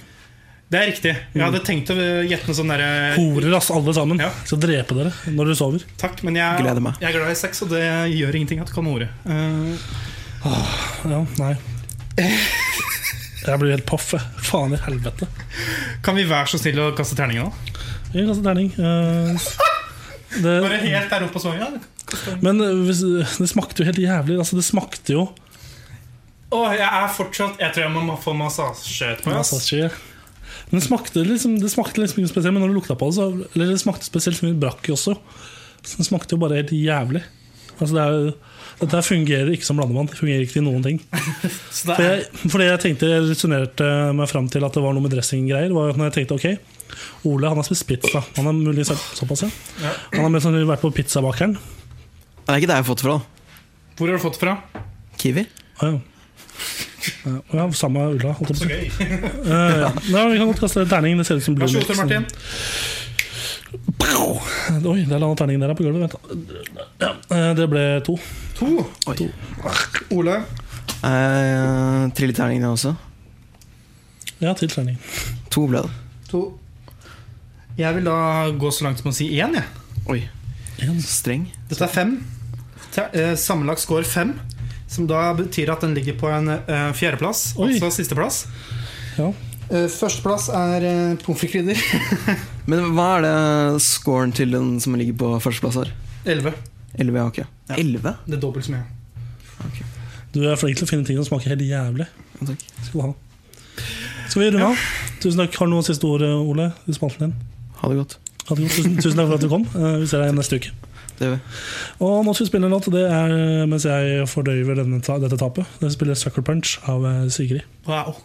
Speaker 1: Det er riktig. Jeg hadde tenkt å gjette noe sånn derre
Speaker 2: Horer, ass, alle sammen.
Speaker 1: Ja.
Speaker 2: Skal drepe dere når dere sover.
Speaker 1: Takk, men jeg,
Speaker 6: Gleder meg.
Speaker 1: jeg er glad i sex, og det gjør ingenting at du kan ordet. Eh,
Speaker 2: Ja, nei. Jeg blir helt paff. jeg. Faen i helvete.
Speaker 1: kan vi være så snille å kaste terningen nå?
Speaker 2: Jeg kaster altså, terning. Eh, det,
Speaker 1: Bare helt der oppe på svanga?
Speaker 2: men eh, hvis, det smakte jo helt jævlig. Altså, det smakte jo
Speaker 1: Åh, jeg er fortsatt Jeg tror jeg må få massasje etterpå. ass.
Speaker 2: Massasje. Men det smakte liksom Det smakte liksom ikke spesielt, men når du lukta på det, så Eller det smakte spesielt så mye brakk også. Så det smakte jo bare helt jævlig. Altså det er jo dette her fungerer ikke som blandemann. Det fungerer ikke til noen ting.
Speaker 1: Så det
Speaker 2: For
Speaker 1: er,
Speaker 2: jeg, fordi jeg tenkte, jeg resonnerte meg fram til at det var noe med dressinggreier. var jo Når jeg tenkte, ok, Ole han har spist pizza. Han har mulig såpass, ja. Han har mest sannsynlig vært på pizzabakeren.
Speaker 6: Det er ikke det jeg har fått fra, da.
Speaker 1: hvor har du fått det fra?
Speaker 6: Kiwi?
Speaker 2: Å, Ja. Ja, samme ulla. holdt jeg på å si. Eh,
Speaker 1: Gøy.
Speaker 2: Ja, ja. Nei, vi kan godt kaste terning. Det ser ut som
Speaker 1: Vær
Speaker 2: blue
Speaker 1: så god,
Speaker 2: milk,
Speaker 1: Tor
Speaker 2: så-
Speaker 1: Martin.
Speaker 2: Oi, der landa terningen der på gulvet. Vent. da. Ja, eh, det ble to.
Speaker 1: To.
Speaker 6: Oi.
Speaker 1: Ole.
Speaker 6: Eh, Trilleterning, det også.
Speaker 2: Ja, til terning.
Speaker 6: To ble det.
Speaker 1: To. Jeg vil da gå så langt som å si én. jeg.
Speaker 6: Oi. Så streng.
Speaker 1: Dette er fem. Te- eh, Sammenlagt score fem. Som da betyr at den ligger på en eh, fjerdeplass,
Speaker 2: Oi.
Speaker 1: altså sisteplass.
Speaker 2: Ja.
Speaker 1: Eh, Førsteplass er eh, pommes frites-krydder.
Speaker 6: Men hva er det scoren til den som ligger på førsteplass her?
Speaker 1: Elleve.
Speaker 6: 11, ja, ok. 11?
Speaker 1: Det er dobbelt så mye.
Speaker 2: Du er flink til å finne ting som smaker helt jævlig.
Speaker 6: Ja, takk.
Speaker 2: Skal du ha. Skal vi runde av? Tusen takk. Har du noen siste ord, eh, Ole? I spalten din.
Speaker 6: Ha det godt.
Speaker 2: Ha det godt. Tusen, tusen takk for at du kom. Eh, Vi ser deg neste uke.
Speaker 6: Det gjør vi.
Speaker 2: Og nå skal vi spille en låt. Det er eh, mens jeg fordøyver denne, ta- dette tapet. Vi spiller Sucker Punch av eh, Sigrid.
Speaker 1: Wow.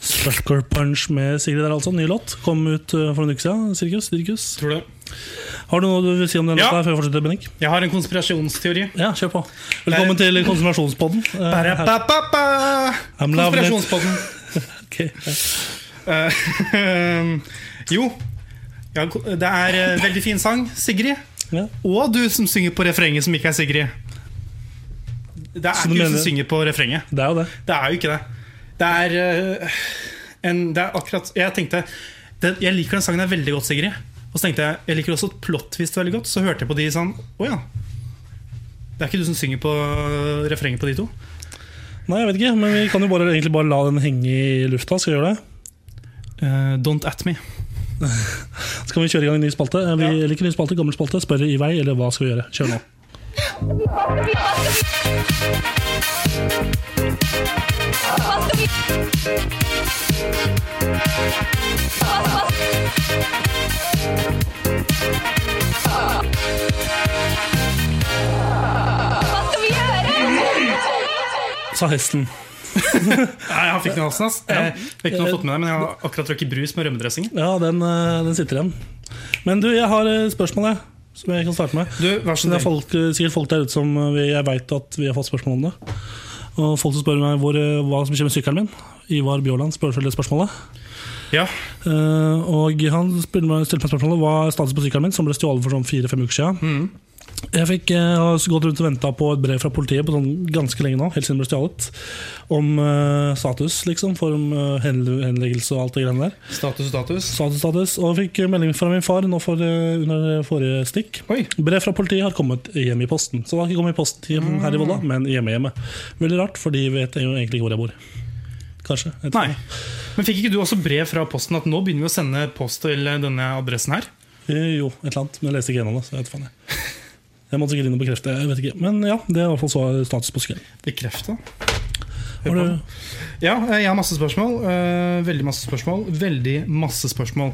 Speaker 2: Sucker Punch med Sigrid der, altså. Ny låt. Kom ut eh, for en uke siden. Sirkus. Dirkus.
Speaker 1: Tror du?
Speaker 2: Har du noe du vil si om den
Speaker 1: Ja.
Speaker 2: låta før vi fortsetter, Bennik?
Speaker 1: Jeg har en konspirasjonsteori.
Speaker 2: Ja, kjør på. Velkommen til konsumasjonspodden. Eh, her-
Speaker 1: Ba-ba-ba!
Speaker 2: I'm loving it.
Speaker 1: Konspirasjonspodden.
Speaker 2: Ok.
Speaker 1: Eh, jo, ja, det er eh, veldig fin sang. Sigrid.
Speaker 2: Ja.
Speaker 1: Og du som synger på refrenget som ikke er Sigrid. Det er ikke du
Speaker 2: du mener-
Speaker 1: som synger på refrenget.
Speaker 2: Det er jo det.
Speaker 1: Det er jo ikke det. Det er eh, en, Det er akkurat Jeg tenkte det, Jeg liker den sangen der veldig godt, Sigrid. Og så tenkte jeg Jeg liker også plot-twist veldig godt. Så hørte jeg på de sånn Å ja. Det er ikke du som synger på eh, refrenget på de to?
Speaker 2: Nei, jeg vet ikke, men vi kan jo bare, egentlig bare la den henge i lufta. Skal vi gjøre det?
Speaker 1: Eh, don't at me.
Speaker 2: Så kan vi kjøre i gang en ny spalte. Eh, Vi
Speaker 1: Ja.
Speaker 2: liker ny spalte, gammel spalte. Spørre i vei, eller hva skal vi gjøre? Kjør nå. Sa hesten.
Speaker 1: Nei, han fikk den i halsen, ass. Jeg vet ikke om du har fått med deg, men jeg har akkurat drukket brus med rømmedressing.
Speaker 2: Ja, den, eh, den sitter igjen. Men du, jeg har eh, spørsmål, jeg. Som jeg kan starte med.
Speaker 1: Du, vær så
Speaker 2: Det er
Speaker 1: snill.
Speaker 2: folk, eh, sikkert folk der ute som vi, jeg vet at vi har fått spørsmål om det. Og folk som spør meg hvor, eh, hva som skjer med sykkelen min. Ivar Bjåland spør selv det spørsmålet.
Speaker 1: Ja.
Speaker 2: Eh, og han spurte meg, stilte meg spørsmålet hva er status på sykkelen min, som ble stjålet for sånn fire-fem uker siden. Jeg fikk eh, har gått rundt og venta på et brev fra politiet på sånn ganske lenge nå, helt siden det ble stjålet, om eh, status, liksom, for om, eh, henle- henleggelse og alt det greiene der.
Speaker 1: Status og status.
Speaker 2: Status, status. Og jeg fikk eh, melding fra min far nå for, eh, under forrige stikk.
Speaker 1: Oi.
Speaker 2: Brev fra politiet har kommet hjem i posten. Så det har ikke kommet i posten hjem her i Volda,
Speaker 1: Mm.
Speaker 2: men hjemme hjemme. Veldig rart, for de vet jo egentlig ikke hvor jeg bor. Kanskje. Jeg vet
Speaker 1: Nei. Men fikk ikke du også brev fra posten at nå begynner vi å sende post til denne adressen her?
Speaker 2: ikke. Eh, Jo, et eller annet. Men jeg leste ikke gjennom det, så jeg vet faen. Jeg Jeg måtte sikkert inn og bekrefte. jeg vet ikke. Men ja, det er i hvert fall så status på skrevet.
Speaker 1: Bekrefta.
Speaker 2: Har du
Speaker 1: Ja, jeg har masse spørsmål. Eh, veldig masse spørsmål. Veldig masse spørsmål.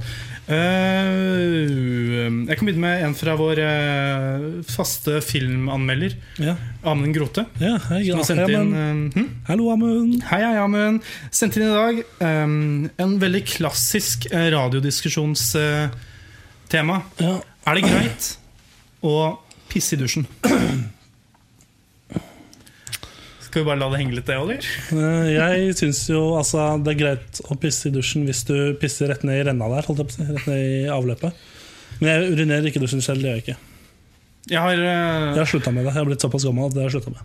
Speaker 1: Eh, jeg kan begynne med en fra vår eh, faste filmanmelder,
Speaker 2: Ja,
Speaker 1: Amund Grote.
Speaker 2: ja hei,
Speaker 1: Som
Speaker 2: ja,
Speaker 1: har sendt
Speaker 2: ja,
Speaker 1: inn
Speaker 2: men,
Speaker 1: eh, hm?
Speaker 2: Hallo, Amund.
Speaker 1: Hei, hei, Amund. Sendte inn i dag eh, en veldig klassisk eh, radiodiskusjonstema.
Speaker 2: Ja.
Speaker 1: Er det greit å pisse i dusjen? Skal vi bare la det henge litt, det, Oliver?
Speaker 2: eh, Jeg syns jo altså det er greit å pisse i dusjen hvis du pisser rett ned i renna der. Holdt jeg på å si. Rett ned i avløpet. Men jeg urinerer ikke i dusjen selv. det gjør jeg ikke
Speaker 1: Jeg har, eh,
Speaker 2: Jeg har slutta med det. Jeg har blitt såpass gammel at det har jeg slutta med.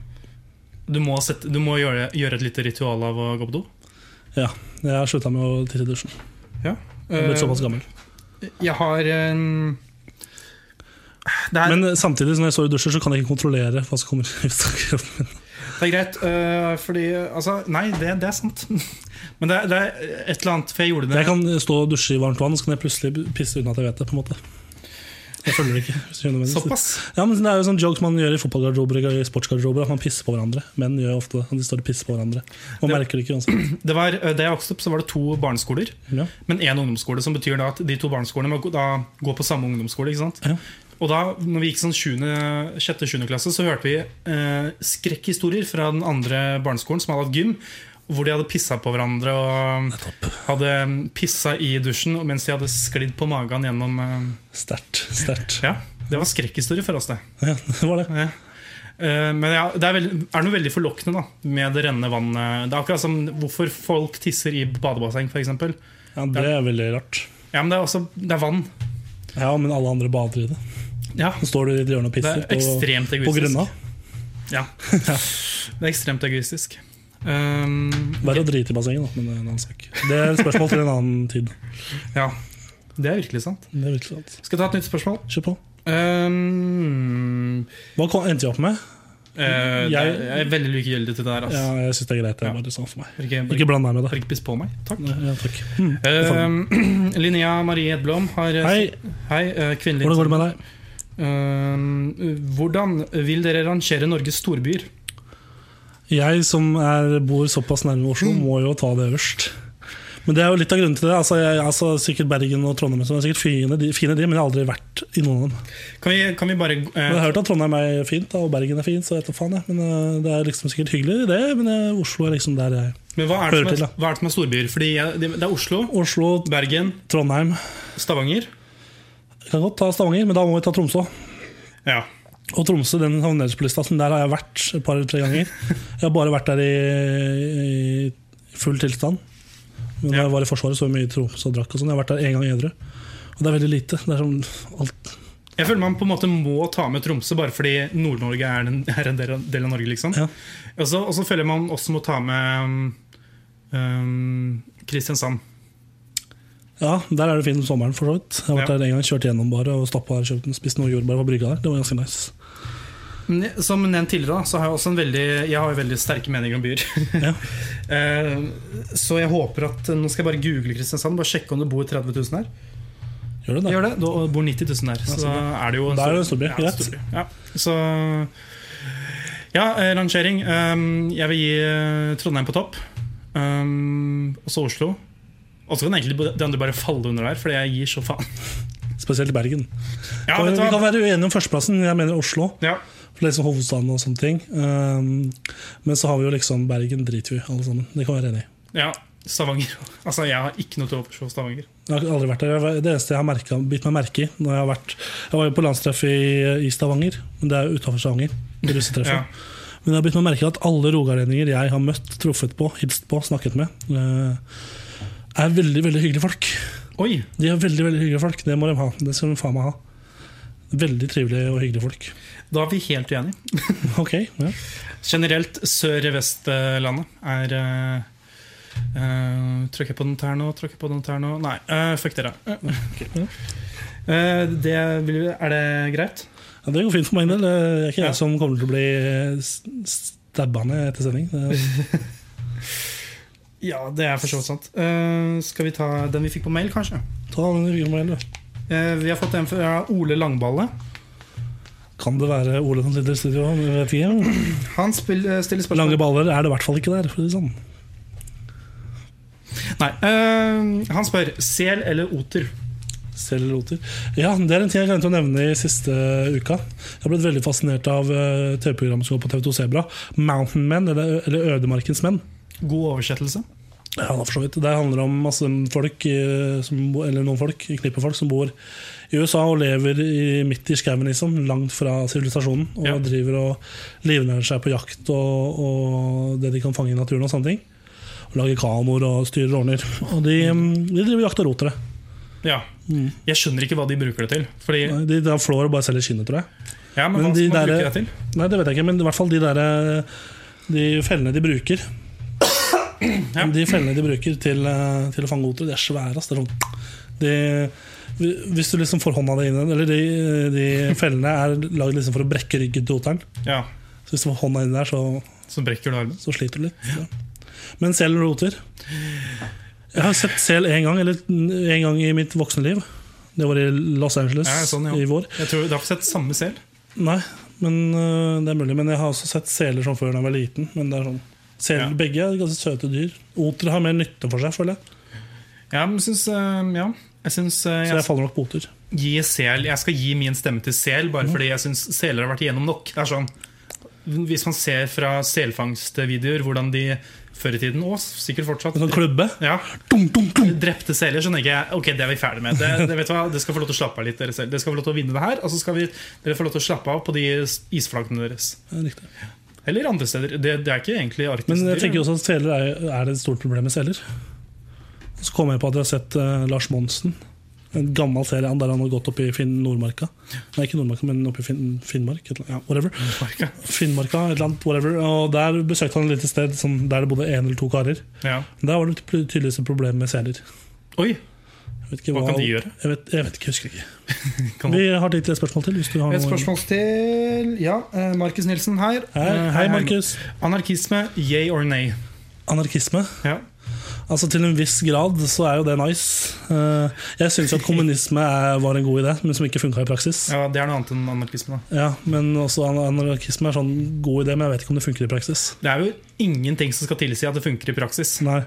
Speaker 1: Du må, sette, du må gjøre, gjøre et lite ritual av å gå på do.
Speaker 2: Ja, jeg har slutta med å tisse i dusjen. Jeg har
Speaker 1: Eh,
Speaker 2: blitt såpass gammel.
Speaker 1: Jeg har en det er,
Speaker 2: Men eh, samtidig som jeg står i dusjen, så kan jeg ikke kontrollere hva som kommer ut av kroppen min.
Speaker 1: det er greit, øh, fordi Altså, nei, det, det er sant. Men det, er- det er et eller annet For jeg gjorde det
Speaker 2: Jeg kan stå og dusje i varmt vann, så kan jeg plutselig pisse uten at jeg vet det. på en måte Jeg følger det ikke. Hvis du skjønner hva jeg mener.
Speaker 1: såpass.
Speaker 2: Ja, men Det er jo sånn jokes man gjør i fotballgarderober og i sportsgarderober. At man pisser på hverandre. Menn gjør jo ofte det. De står og pisser på hverandre. Man
Speaker 1: Det-
Speaker 2: merker det ikke uansett.
Speaker 1: Det var, øh, da jeg vokste opp, så var det to barneskoler,
Speaker 2: Ja.
Speaker 1: men én ungdomsskole. Som betyr da at de to barneskolene må gå- da gå på samme ungdomsskole. ikke sant?
Speaker 2: Ja.
Speaker 1: Og da når vi gikk sånn 7., 6. 7. klasse, så hørte vi eh, skrekkhistorier fra den andre barneskolen som hadde hatt gym. Hvor de hadde pissa på hverandre og hadde pissa i dusjen og mens de hadde sklidd på magen gjennom eh,
Speaker 2: Sterkt. Sterkt.
Speaker 1: Ja, det var skrekkhistorie for oss, det.
Speaker 2: Ja, det var det.
Speaker 1: Ja. Eh, Men ja, det er, veldig, er noe veldig forlokkende da med det rennende vannet. Det er akkurat som hvorfor folk tisser i badebasseng, f.eks.
Speaker 2: Ja, Det er veldig rart.
Speaker 1: Ja, men det er også det er vann.
Speaker 2: Ja, men alle andre bader i det.
Speaker 1: Ja,
Speaker 2: Så står du i et hjørne og
Speaker 1: det er
Speaker 2: pisser på,
Speaker 1: ekstremt
Speaker 2: på
Speaker 1: egoistisk.
Speaker 2: grunna.
Speaker 1: Ja. Det er ekstremt egoistisk. Ehm,
Speaker 2: Verre å drite i bassenget, da, men det er en annen sak. Det er et spørsmål til en annen tid.
Speaker 1: ja. Det er virkelig sant.
Speaker 2: Det er virkelig sant.
Speaker 1: Skal jeg ta et nytt spørsmål?
Speaker 2: Kjør på.
Speaker 1: Ehm,
Speaker 2: Hva kom- endte jeg opp med?
Speaker 1: eh, det
Speaker 2: Jeg-
Speaker 1: er- jeg er veldig likegyldig til det der.
Speaker 2: Ja,
Speaker 1: Altså.
Speaker 2: jeg syns det er greit. Det er
Speaker 1: Ja.
Speaker 2: bare sånn for meg.
Speaker 1: Bare Ikke, bare,
Speaker 2: Ikke
Speaker 1: ikke,
Speaker 2: bland meg med
Speaker 1: bare
Speaker 2: det.
Speaker 1: ikke piss på meg. Takk.
Speaker 2: Ja, takk.
Speaker 1: Ehm, Linnea Marie Edblom har
Speaker 2: Hei,
Speaker 1: Hei, eh, kvinnelig
Speaker 2: hvordan går det med deg?
Speaker 1: Ehm, Hvordan vil dere rangere Norges storbyer?
Speaker 2: Jeg som er, bor såpass nærme Oslo, må jo ta det øverst. Men det er jo litt av grunnen til det. Altså, jeg, altså, sikkert Bergen og Trondheim som er sikkert fine, de, fine de, men jeg har aldri vært i noen av dem.
Speaker 1: Kan vi, kan vi bare
Speaker 2: Men jeg
Speaker 1: eh,
Speaker 2: har hørt at Trondheim er fint, da, og Bergen er fint, så jeg vet da faen. Jeg. Men eh, Det er liksom sikkert hyggelig, det, men eh, Oslo er liksom der jeg
Speaker 1: Men hva er, det
Speaker 2: Hører
Speaker 1: som
Speaker 2: til,
Speaker 1: er,
Speaker 2: da.
Speaker 1: hva er det som er storbyer? Fordi jeg, det det er Oslo,
Speaker 2: Oslo,
Speaker 1: Bergen,
Speaker 2: Trondheim.
Speaker 1: Stavanger.
Speaker 2: Jeg kan godt ta Stavanger, men da må vi ta Tromsø.
Speaker 1: Ja.
Speaker 2: Og Tromsø, den havnelsen på lista, så der har jeg vært et par-tre ganger. Jeg har bare vært der i, i full tilstand. Men da
Speaker 1: Ja.
Speaker 2: jeg var i Forsvaret, så var jeg mye i Tromsø og drakk. og sånn. Jeg har vært der én gang edru. Og det er veldig lite. Det er sånn alt.
Speaker 1: Jeg føler man på en måte må ta med Tromsø bare fordi Nord-Norge er, den- er en del av, del av Norge. liksom
Speaker 2: Ja.
Speaker 1: og, så, og så føler jeg man også må ta med um, ehm, Kristiansand.
Speaker 2: Ja, der er det fint om sommeren, for så vidt. Jeg har vært
Speaker 1: Ja.
Speaker 2: der en gang, kjørt gjennom bare og stoppa der, kjøpt, spist noe jordbær på brygga der. Det var ganske nice.
Speaker 1: Men jeg- Som nevnt tidligere, da, så har jeg også en veldig, jeg har jo veldig sterke meninger om byer.
Speaker 2: Ja.
Speaker 1: Eh, så jeg håper at Nå skal jeg bare google Kristiansand. Bare sjekke om det bor 30 000 her.
Speaker 2: Gjør det det?
Speaker 1: Gjør det, da bor 90 000 her. Så da er det jo
Speaker 2: Da er det en storby,
Speaker 1: Ja,
Speaker 2: greit.
Speaker 1: storby. Ja. Så Ja, eh, rangering. Um, jeg vil gi eh, Trondheim på topp. Um, og så Oslo. Og så kan egentlig de andre bare falle under der, fordi jeg gir så faen.
Speaker 2: Spesielt i Bergen.
Speaker 1: Ja,
Speaker 2: Og
Speaker 1: vet du
Speaker 2: vi kan
Speaker 1: hva?
Speaker 2: være uenige om førsteplassen, jeg mener Oslo.
Speaker 1: Ja.
Speaker 2: For liksom hovedstaden og sånne ting. Ehm, men så har vi jo liksom Bergen driter vi i, alle sammen. Det kan jeg være enig i.
Speaker 1: ja. Stavanger. Altså, jeg har ikke noe til overs for Stavanger.
Speaker 2: Jeg har aldri vært der. Jeg var- Det eneste jeg har merket, bitt meg merke i når Jeg har vært Jeg var jo på landstreff i, i Stavanger, men det er jo utafor Stavanger. det Russetreffet.
Speaker 1: Ja.
Speaker 2: Men jeg har bitt meg merke i at alle rogalendinger jeg har møtt, truffet på, hilst på, snakket med, eh, er veldig veldig hyggelige folk.
Speaker 1: Oi!
Speaker 2: De er veldig veldig hyggelige folk. Det må de ha. Det skal de faen meg ha. Veldig trivelige og hyggelige folk.
Speaker 1: Da er vi helt uenige.
Speaker 2: Ok, ja.
Speaker 1: Generelt Sør-Vestlandet er eh, eh, Trykker jeg på den her nå, trykker jeg på den her nå Nei, eh, fuck dere. Eh, eh, det vil, er det greit?
Speaker 2: Ja, det går fint for meg en del. Det er ikke
Speaker 1: Ja.
Speaker 2: jeg som kommer til å bli eh, s- stabba ned etter sending. Eh, Det er-
Speaker 1: Ja, det er for så vidt sant. Eh, skal vi ta den vi fikk på mail, kanskje?
Speaker 2: Ta den i ryggen på meg, du.
Speaker 1: Eh, vi har fått en fra Ole Langballe.
Speaker 2: Kan det være Ole som sitter i studio? Jeg vet ikke.
Speaker 1: Han spill, eh, stiller spørsmål
Speaker 2: Lange baller er det i hvert fall ikke der. For å si det sånn.
Speaker 1: Nei, eh, Han spør sel eller oter.
Speaker 2: Celluloter. Ja, det er en ting jeg glemte å nevne i siste uka. Jeg har blitt veldig fascinert av eh, TV-programmet som går på TV2 Sebra. Mountain Men, eller, eller Ødemarkens menn.
Speaker 1: God oversettelse.
Speaker 2: Ja, da, for så vidt. Det handler om masse folk, eh, som, bo- eller noen folk, en knippe folk som bor i USA og lever i, midt i skauen, liksom, langt fra sivilisasjonen. Og
Speaker 1: Ja.
Speaker 2: driver og livnærer seg på jakt og, og det de kan fange i naturen. og sånne ting. Og lager kanoer og styrer og ordner. Og de, mm, de driver jakt og roter det.
Speaker 1: Ja. Jeg skjønner ikke hva de bruker det til. Fordi,
Speaker 2: Nei, De, de flår og bare selger skinnet, tror jeg.
Speaker 1: ja, men,
Speaker 2: Men
Speaker 1: hva
Speaker 2: de
Speaker 1: skal man
Speaker 2: der- eh,
Speaker 1: bruke det til?
Speaker 2: Nei, det vet jeg ikke, men i hvert fall de der eh, De fellene de bruker
Speaker 1: Ja.
Speaker 2: De fellene de bruker til, eh, til å fange oter, de er svære. ass. Det er sånn- de, hvis du liksom får hånda di inn i den Eller de, de fellene er lagd liksom for å brekke ryggen til oteren.
Speaker 1: Ja,
Speaker 2: Så hvis du får hånda inni der, så,
Speaker 1: Så brekker du armen.
Speaker 2: så sliter du litt. Ja. Men sel eller oter? Jeg har sett sel én gang, eller én gang i mitt voksenliv. Det var i Los Angeles
Speaker 1: Ja, sånn, ja.
Speaker 2: i vår.
Speaker 1: Jeg tror Du har ikke sett samme sel?
Speaker 2: Nei, men øh, det er mulig. Men jeg har også sett seler som før da jeg var liten. Men det er sånn Seler,
Speaker 1: Ja.
Speaker 2: Begge er ganske søte dyr. Oter har mer nytte for seg, føler jeg.
Speaker 1: Ja, men syns, eh, ja. Jeg syns eh,
Speaker 2: Så
Speaker 1: jeg,
Speaker 2: jeg faller nok på oter.
Speaker 1: skal gi sel, jeg skal gi min stemme til sel, bare
Speaker 2: Mhm.
Speaker 1: fordi jeg syns seler har vært igjennom nok. Det er sånn, hvis man ser fra selfangstvideoer hvordan de før i tiden, og sikkert fortsatt
Speaker 2: En sånn klubbe.
Speaker 1: ja,
Speaker 2: Dum, dum, dum.
Speaker 1: Drepte seler, så tenker jeg ok, det er vi ferdig med. Det, det, vet du hva, Dere skal få lov til å slappe av litt, dere selv. Dere skal få lov til å vinne det her, og så skal vi, dere få lov til å slappe av på de isflakene deres.
Speaker 2: Ja, Riktig.
Speaker 1: Eller andre steder. Det, det er ikke egentlig arktisk.
Speaker 2: Men jeg
Speaker 1: dyr.
Speaker 2: tenker jo også at seler er, er det et stort problem med seler. Og Så kom jeg på at jeg har sett eh, Lars Monsen. En gammel serie han- der han har gått opp i Finn Nordmarka. Nei, ikke Nordmarka, men opp i Finn, Finnmark. Et eller annet. Ja, whatever. Finnmarka, et eller annet, whatever. Og der besøkte han et lite sted som, der det bodde én eller to karer.
Speaker 1: Ja.
Speaker 2: Der var det tydeligvis et problem med seler.
Speaker 1: Oi!
Speaker 2: Jeg vet ikke
Speaker 1: Hva kan de gjøre?
Speaker 2: Jeg vet, jeg vet ikke, jeg husker ikke.
Speaker 1: Kan-
Speaker 2: Vi har tid til et spørsmål til. Hvis du har
Speaker 1: Et
Speaker 2: noe-
Speaker 1: spørsmål til Ja, eh, Markus Nilsen her.
Speaker 2: Hei,
Speaker 1: Eh,
Speaker 2: hei Markus.
Speaker 1: Anarkisme, yay or nay?
Speaker 2: Anarkisme.
Speaker 1: Ja.
Speaker 2: Altså Til en viss grad så er jo det nice. Eh, Jeg syns at kommunisme er, var en god idé, men som ikke funka i praksis.
Speaker 1: ja, Det er noe annet enn anarkisme. da
Speaker 2: Ja, Men også an- anarkisme er sånn god idé, men jeg vet ikke om det funker i praksis.
Speaker 1: Det er jo ingenting som skal tilsi at det funker i praksis.
Speaker 2: Nei,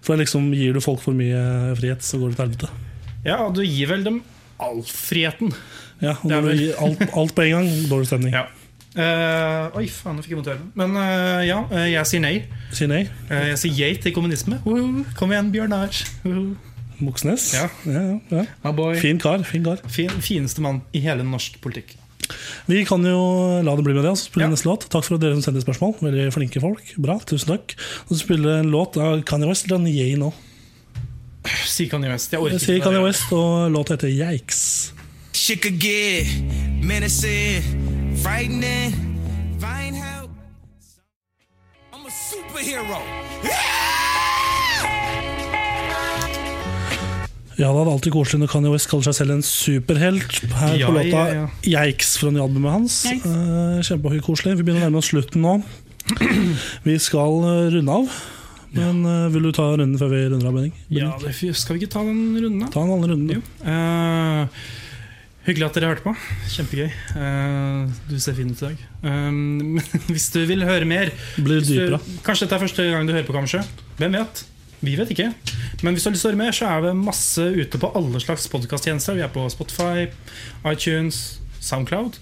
Speaker 2: For det liksom gir du folk for mye eh, frihet, så går det til helvete.
Speaker 1: Ja, og Du gir vel dem all friheten.
Speaker 2: Ja, og
Speaker 1: Det er
Speaker 2: når du
Speaker 1: vel-
Speaker 2: gir alt, alt på en gang, dårlig stemning.
Speaker 1: Ja. Eh, oi, faen, nå fikk jeg vondt i armen. Men eh, ja, eh, jeg sier nei.
Speaker 2: Si nei.
Speaker 1: Eh, jeg sier yay til kommunisme. Woohoo, kom igjen, Bjørnar. Woohoo.
Speaker 2: Moxnes.
Speaker 1: Ja.
Speaker 2: Ja, ja,
Speaker 1: Ah, boy.
Speaker 2: ja. Fin kar. fin kar
Speaker 1: Fin, fineste mann i hele norsk politikk.
Speaker 2: Vi kan jo la det bli med det. og så spille
Speaker 1: Ja.
Speaker 2: neste låt Takk for at dere som sender spørsmål. Veldig flinke folk. Bra, tusen takk. Og så spiller en låt av Kanye West eller Yay nå.
Speaker 1: Sier Kanye West. Jeg orker
Speaker 2: Jeg sier
Speaker 1: ikke
Speaker 2: Kanye
Speaker 1: det.
Speaker 2: West, og låta heter Yikes.
Speaker 7: Shit could get menacing, frightening, find help. I'm a superhero. Yeah!
Speaker 2: Ja, da er det alltid koselig når Kanye West kaller seg selv en superhelt. Her
Speaker 1: Ja,
Speaker 2: på låta
Speaker 1: ja,
Speaker 2: Yikes fra albumet hans.
Speaker 5: Yikes.
Speaker 2: Eh, Kjempekoselig. Vi begynner å nærme oss slutten nå. Vi skal eh, runde av. Men eh, vil du ta runden før vi runder av, Benning?
Speaker 1: Ja, det, fy- skal vi ikke ta den runden, da?
Speaker 2: Ta en annen runde.
Speaker 1: Jo. Eh, hyggelig at dere hørte på. Kjempegøy. Eh, du ser fin ut i dag. Eh, men hvis du vil høre mer
Speaker 2: Blir
Speaker 1: hvis du,
Speaker 2: dypere.
Speaker 1: Kanskje dette er første gang du hører på, kanskje. Hvem vet? Vi vet ikke. Men hvis du har lyst til å høre mer, så er det masse ute på alle slags podkasttjenester. Vi er på Spotify, iTunes, Soundcloud.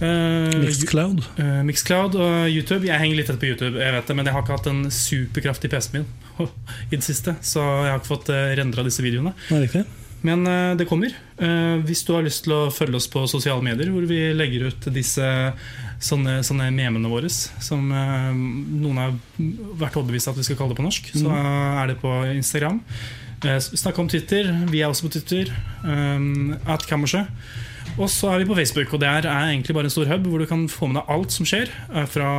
Speaker 1: eh,
Speaker 2: Mixcloud.
Speaker 1: Eh, Mixcloud og YouTube. Jeg henger litt etter på YouTube, jeg vet det, men jeg har ikke hatt en superkraftig PC min i det siste, så jeg har ikke fått rendra disse videoene.
Speaker 2: Er det riktig?
Speaker 1: Men eh, det kommer. Eh, Hvis du har lyst til å følge oss på sosiale medier, hvor vi legger ut disse sånne, sånne memene våre, som eh, noen har vært overbevist at vi skal kalle det på norsk, så eh, er det på Instagram. Eh, Snakk om Twitter. Vi er også på Twitter. Um, at Kammerset. Og så er vi på Facebook, og det er er egentlig bare en stor hub hvor du kan få med deg alt som skjer eh, fra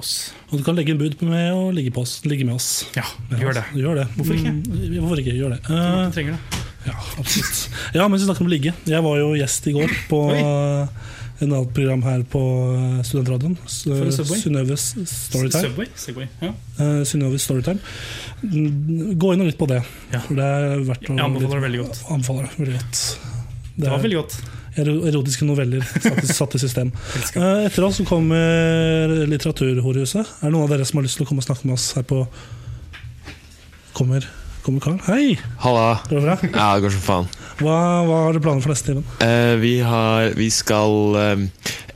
Speaker 1: oss.
Speaker 2: Og du kan legge inn bud på meg og ligge, på oss, ligge med oss.
Speaker 1: Ja, gjør det.
Speaker 2: Gjør det.
Speaker 1: Hvorfor ikke?
Speaker 2: Mm, hvorfor ikke? Gjør det. Eh,
Speaker 1: Du trenger det.
Speaker 2: Ja, absolutt. Ja, mens vi snakker om ligge. Jeg var jo gjest i går på
Speaker 1: Oi.
Speaker 2: eh, en annet program her på eh, studentradioen. S-
Speaker 1: en Subway?
Speaker 2: Synnøves Storytime.
Speaker 1: Subway? Segway. Ja.
Speaker 2: Eh, Synnøves Storytime. Mm, Gå inn og lytt på det.
Speaker 1: Ja.
Speaker 2: For det er verdt å
Speaker 1: Jeg anbefaler
Speaker 2: lytte
Speaker 1: det veldig
Speaker 2: på.
Speaker 1: godt.
Speaker 2: Anbefaler det veldig godt. Det
Speaker 1: Det var
Speaker 2: er
Speaker 1: veldig godt.
Speaker 2: ero- erotiske noveller satt, i- satt i system. Eh, Etter oss så kommer Litteraturhorehuset. Er det noen av dere som har lyst til å komme og snakke med oss her på Kommer, kommer Karl? Hei!
Speaker 8: Halla.
Speaker 2: Går det bra?
Speaker 8: Ja, det går som faen.
Speaker 2: Hva, hva har du planer for neste time?
Speaker 8: Eh, vi har Vi skal eh,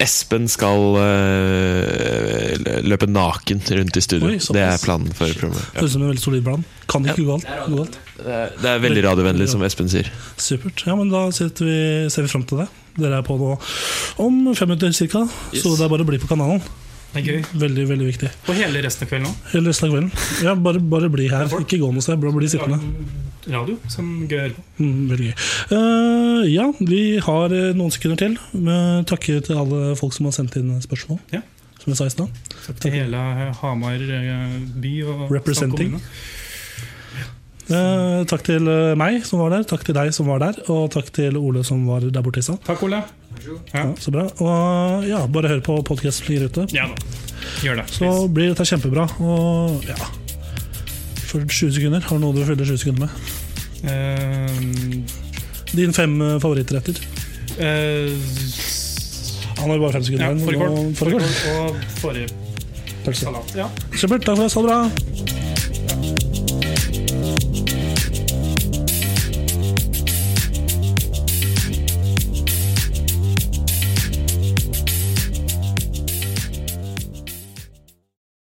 Speaker 8: Espen skal eh, lø- løpe naken rundt i studio.
Speaker 2: Oi, såpass.
Speaker 8: det er planen for programmet. Ja.
Speaker 2: Høres ut som en veldig solid plan. Kan ikke gå galt. Gå galt.
Speaker 8: Det er- Det er veldig radiovennlig, som Espen sier.
Speaker 2: Supert. Ja, men da sitter vi, ser vi fram til det. Dere er på nå om fem minutter ca. Så
Speaker 8: Yes.
Speaker 2: det er bare å bli på kanalen.
Speaker 1: Det er gøy.
Speaker 2: Veldig veldig viktig.
Speaker 1: Og hele resten av kvelden òg.
Speaker 2: Hele resten av kvelden. Ja, bare, bare bli her. Ikke gå noe sted. Bare bli sittende.
Speaker 1: Radio som gøy å høre på.
Speaker 2: Mm, veldig gøy. Eh, ja, vi har eh, noen sekunder til. Men takke til alle folk som har sendt inn spørsmål.
Speaker 1: Ja.
Speaker 2: Som jeg sa i stad.
Speaker 1: Til hele eh, Hamar eh, by og
Speaker 2: Representing.
Speaker 1: Sandkommune.
Speaker 2: Eh, takk til eh, meg som var der, takk til deg som var der, og takk til Ole som var der borte i stad.
Speaker 1: Takk, Ole. Ja.
Speaker 2: Ja, så bra. Og eh, ja, bare hør på podkasten ligger ute.
Speaker 1: Ja da. Gjør det.
Speaker 2: Så blir dette kjempebra. Og ja For 20 sekunder. Har du noe du fyller 20 sekunder med?
Speaker 1: Eh,
Speaker 2: Dine fem eh, favorittretter.
Speaker 1: eh,
Speaker 2: Han har jo bare fem
Speaker 1: ja,
Speaker 2: sekunder igjen.
Speaker 1: fårikål.
Speaker 2: og nå-
Speaker 1: Fårikål
Speaker 2: fårikål.
Speaker 1: og forrige
Speaker 2: Pølse.
Speaker 1: salat. Ja.
Speaker 2: Supert. Takk for oss. Ha det bra.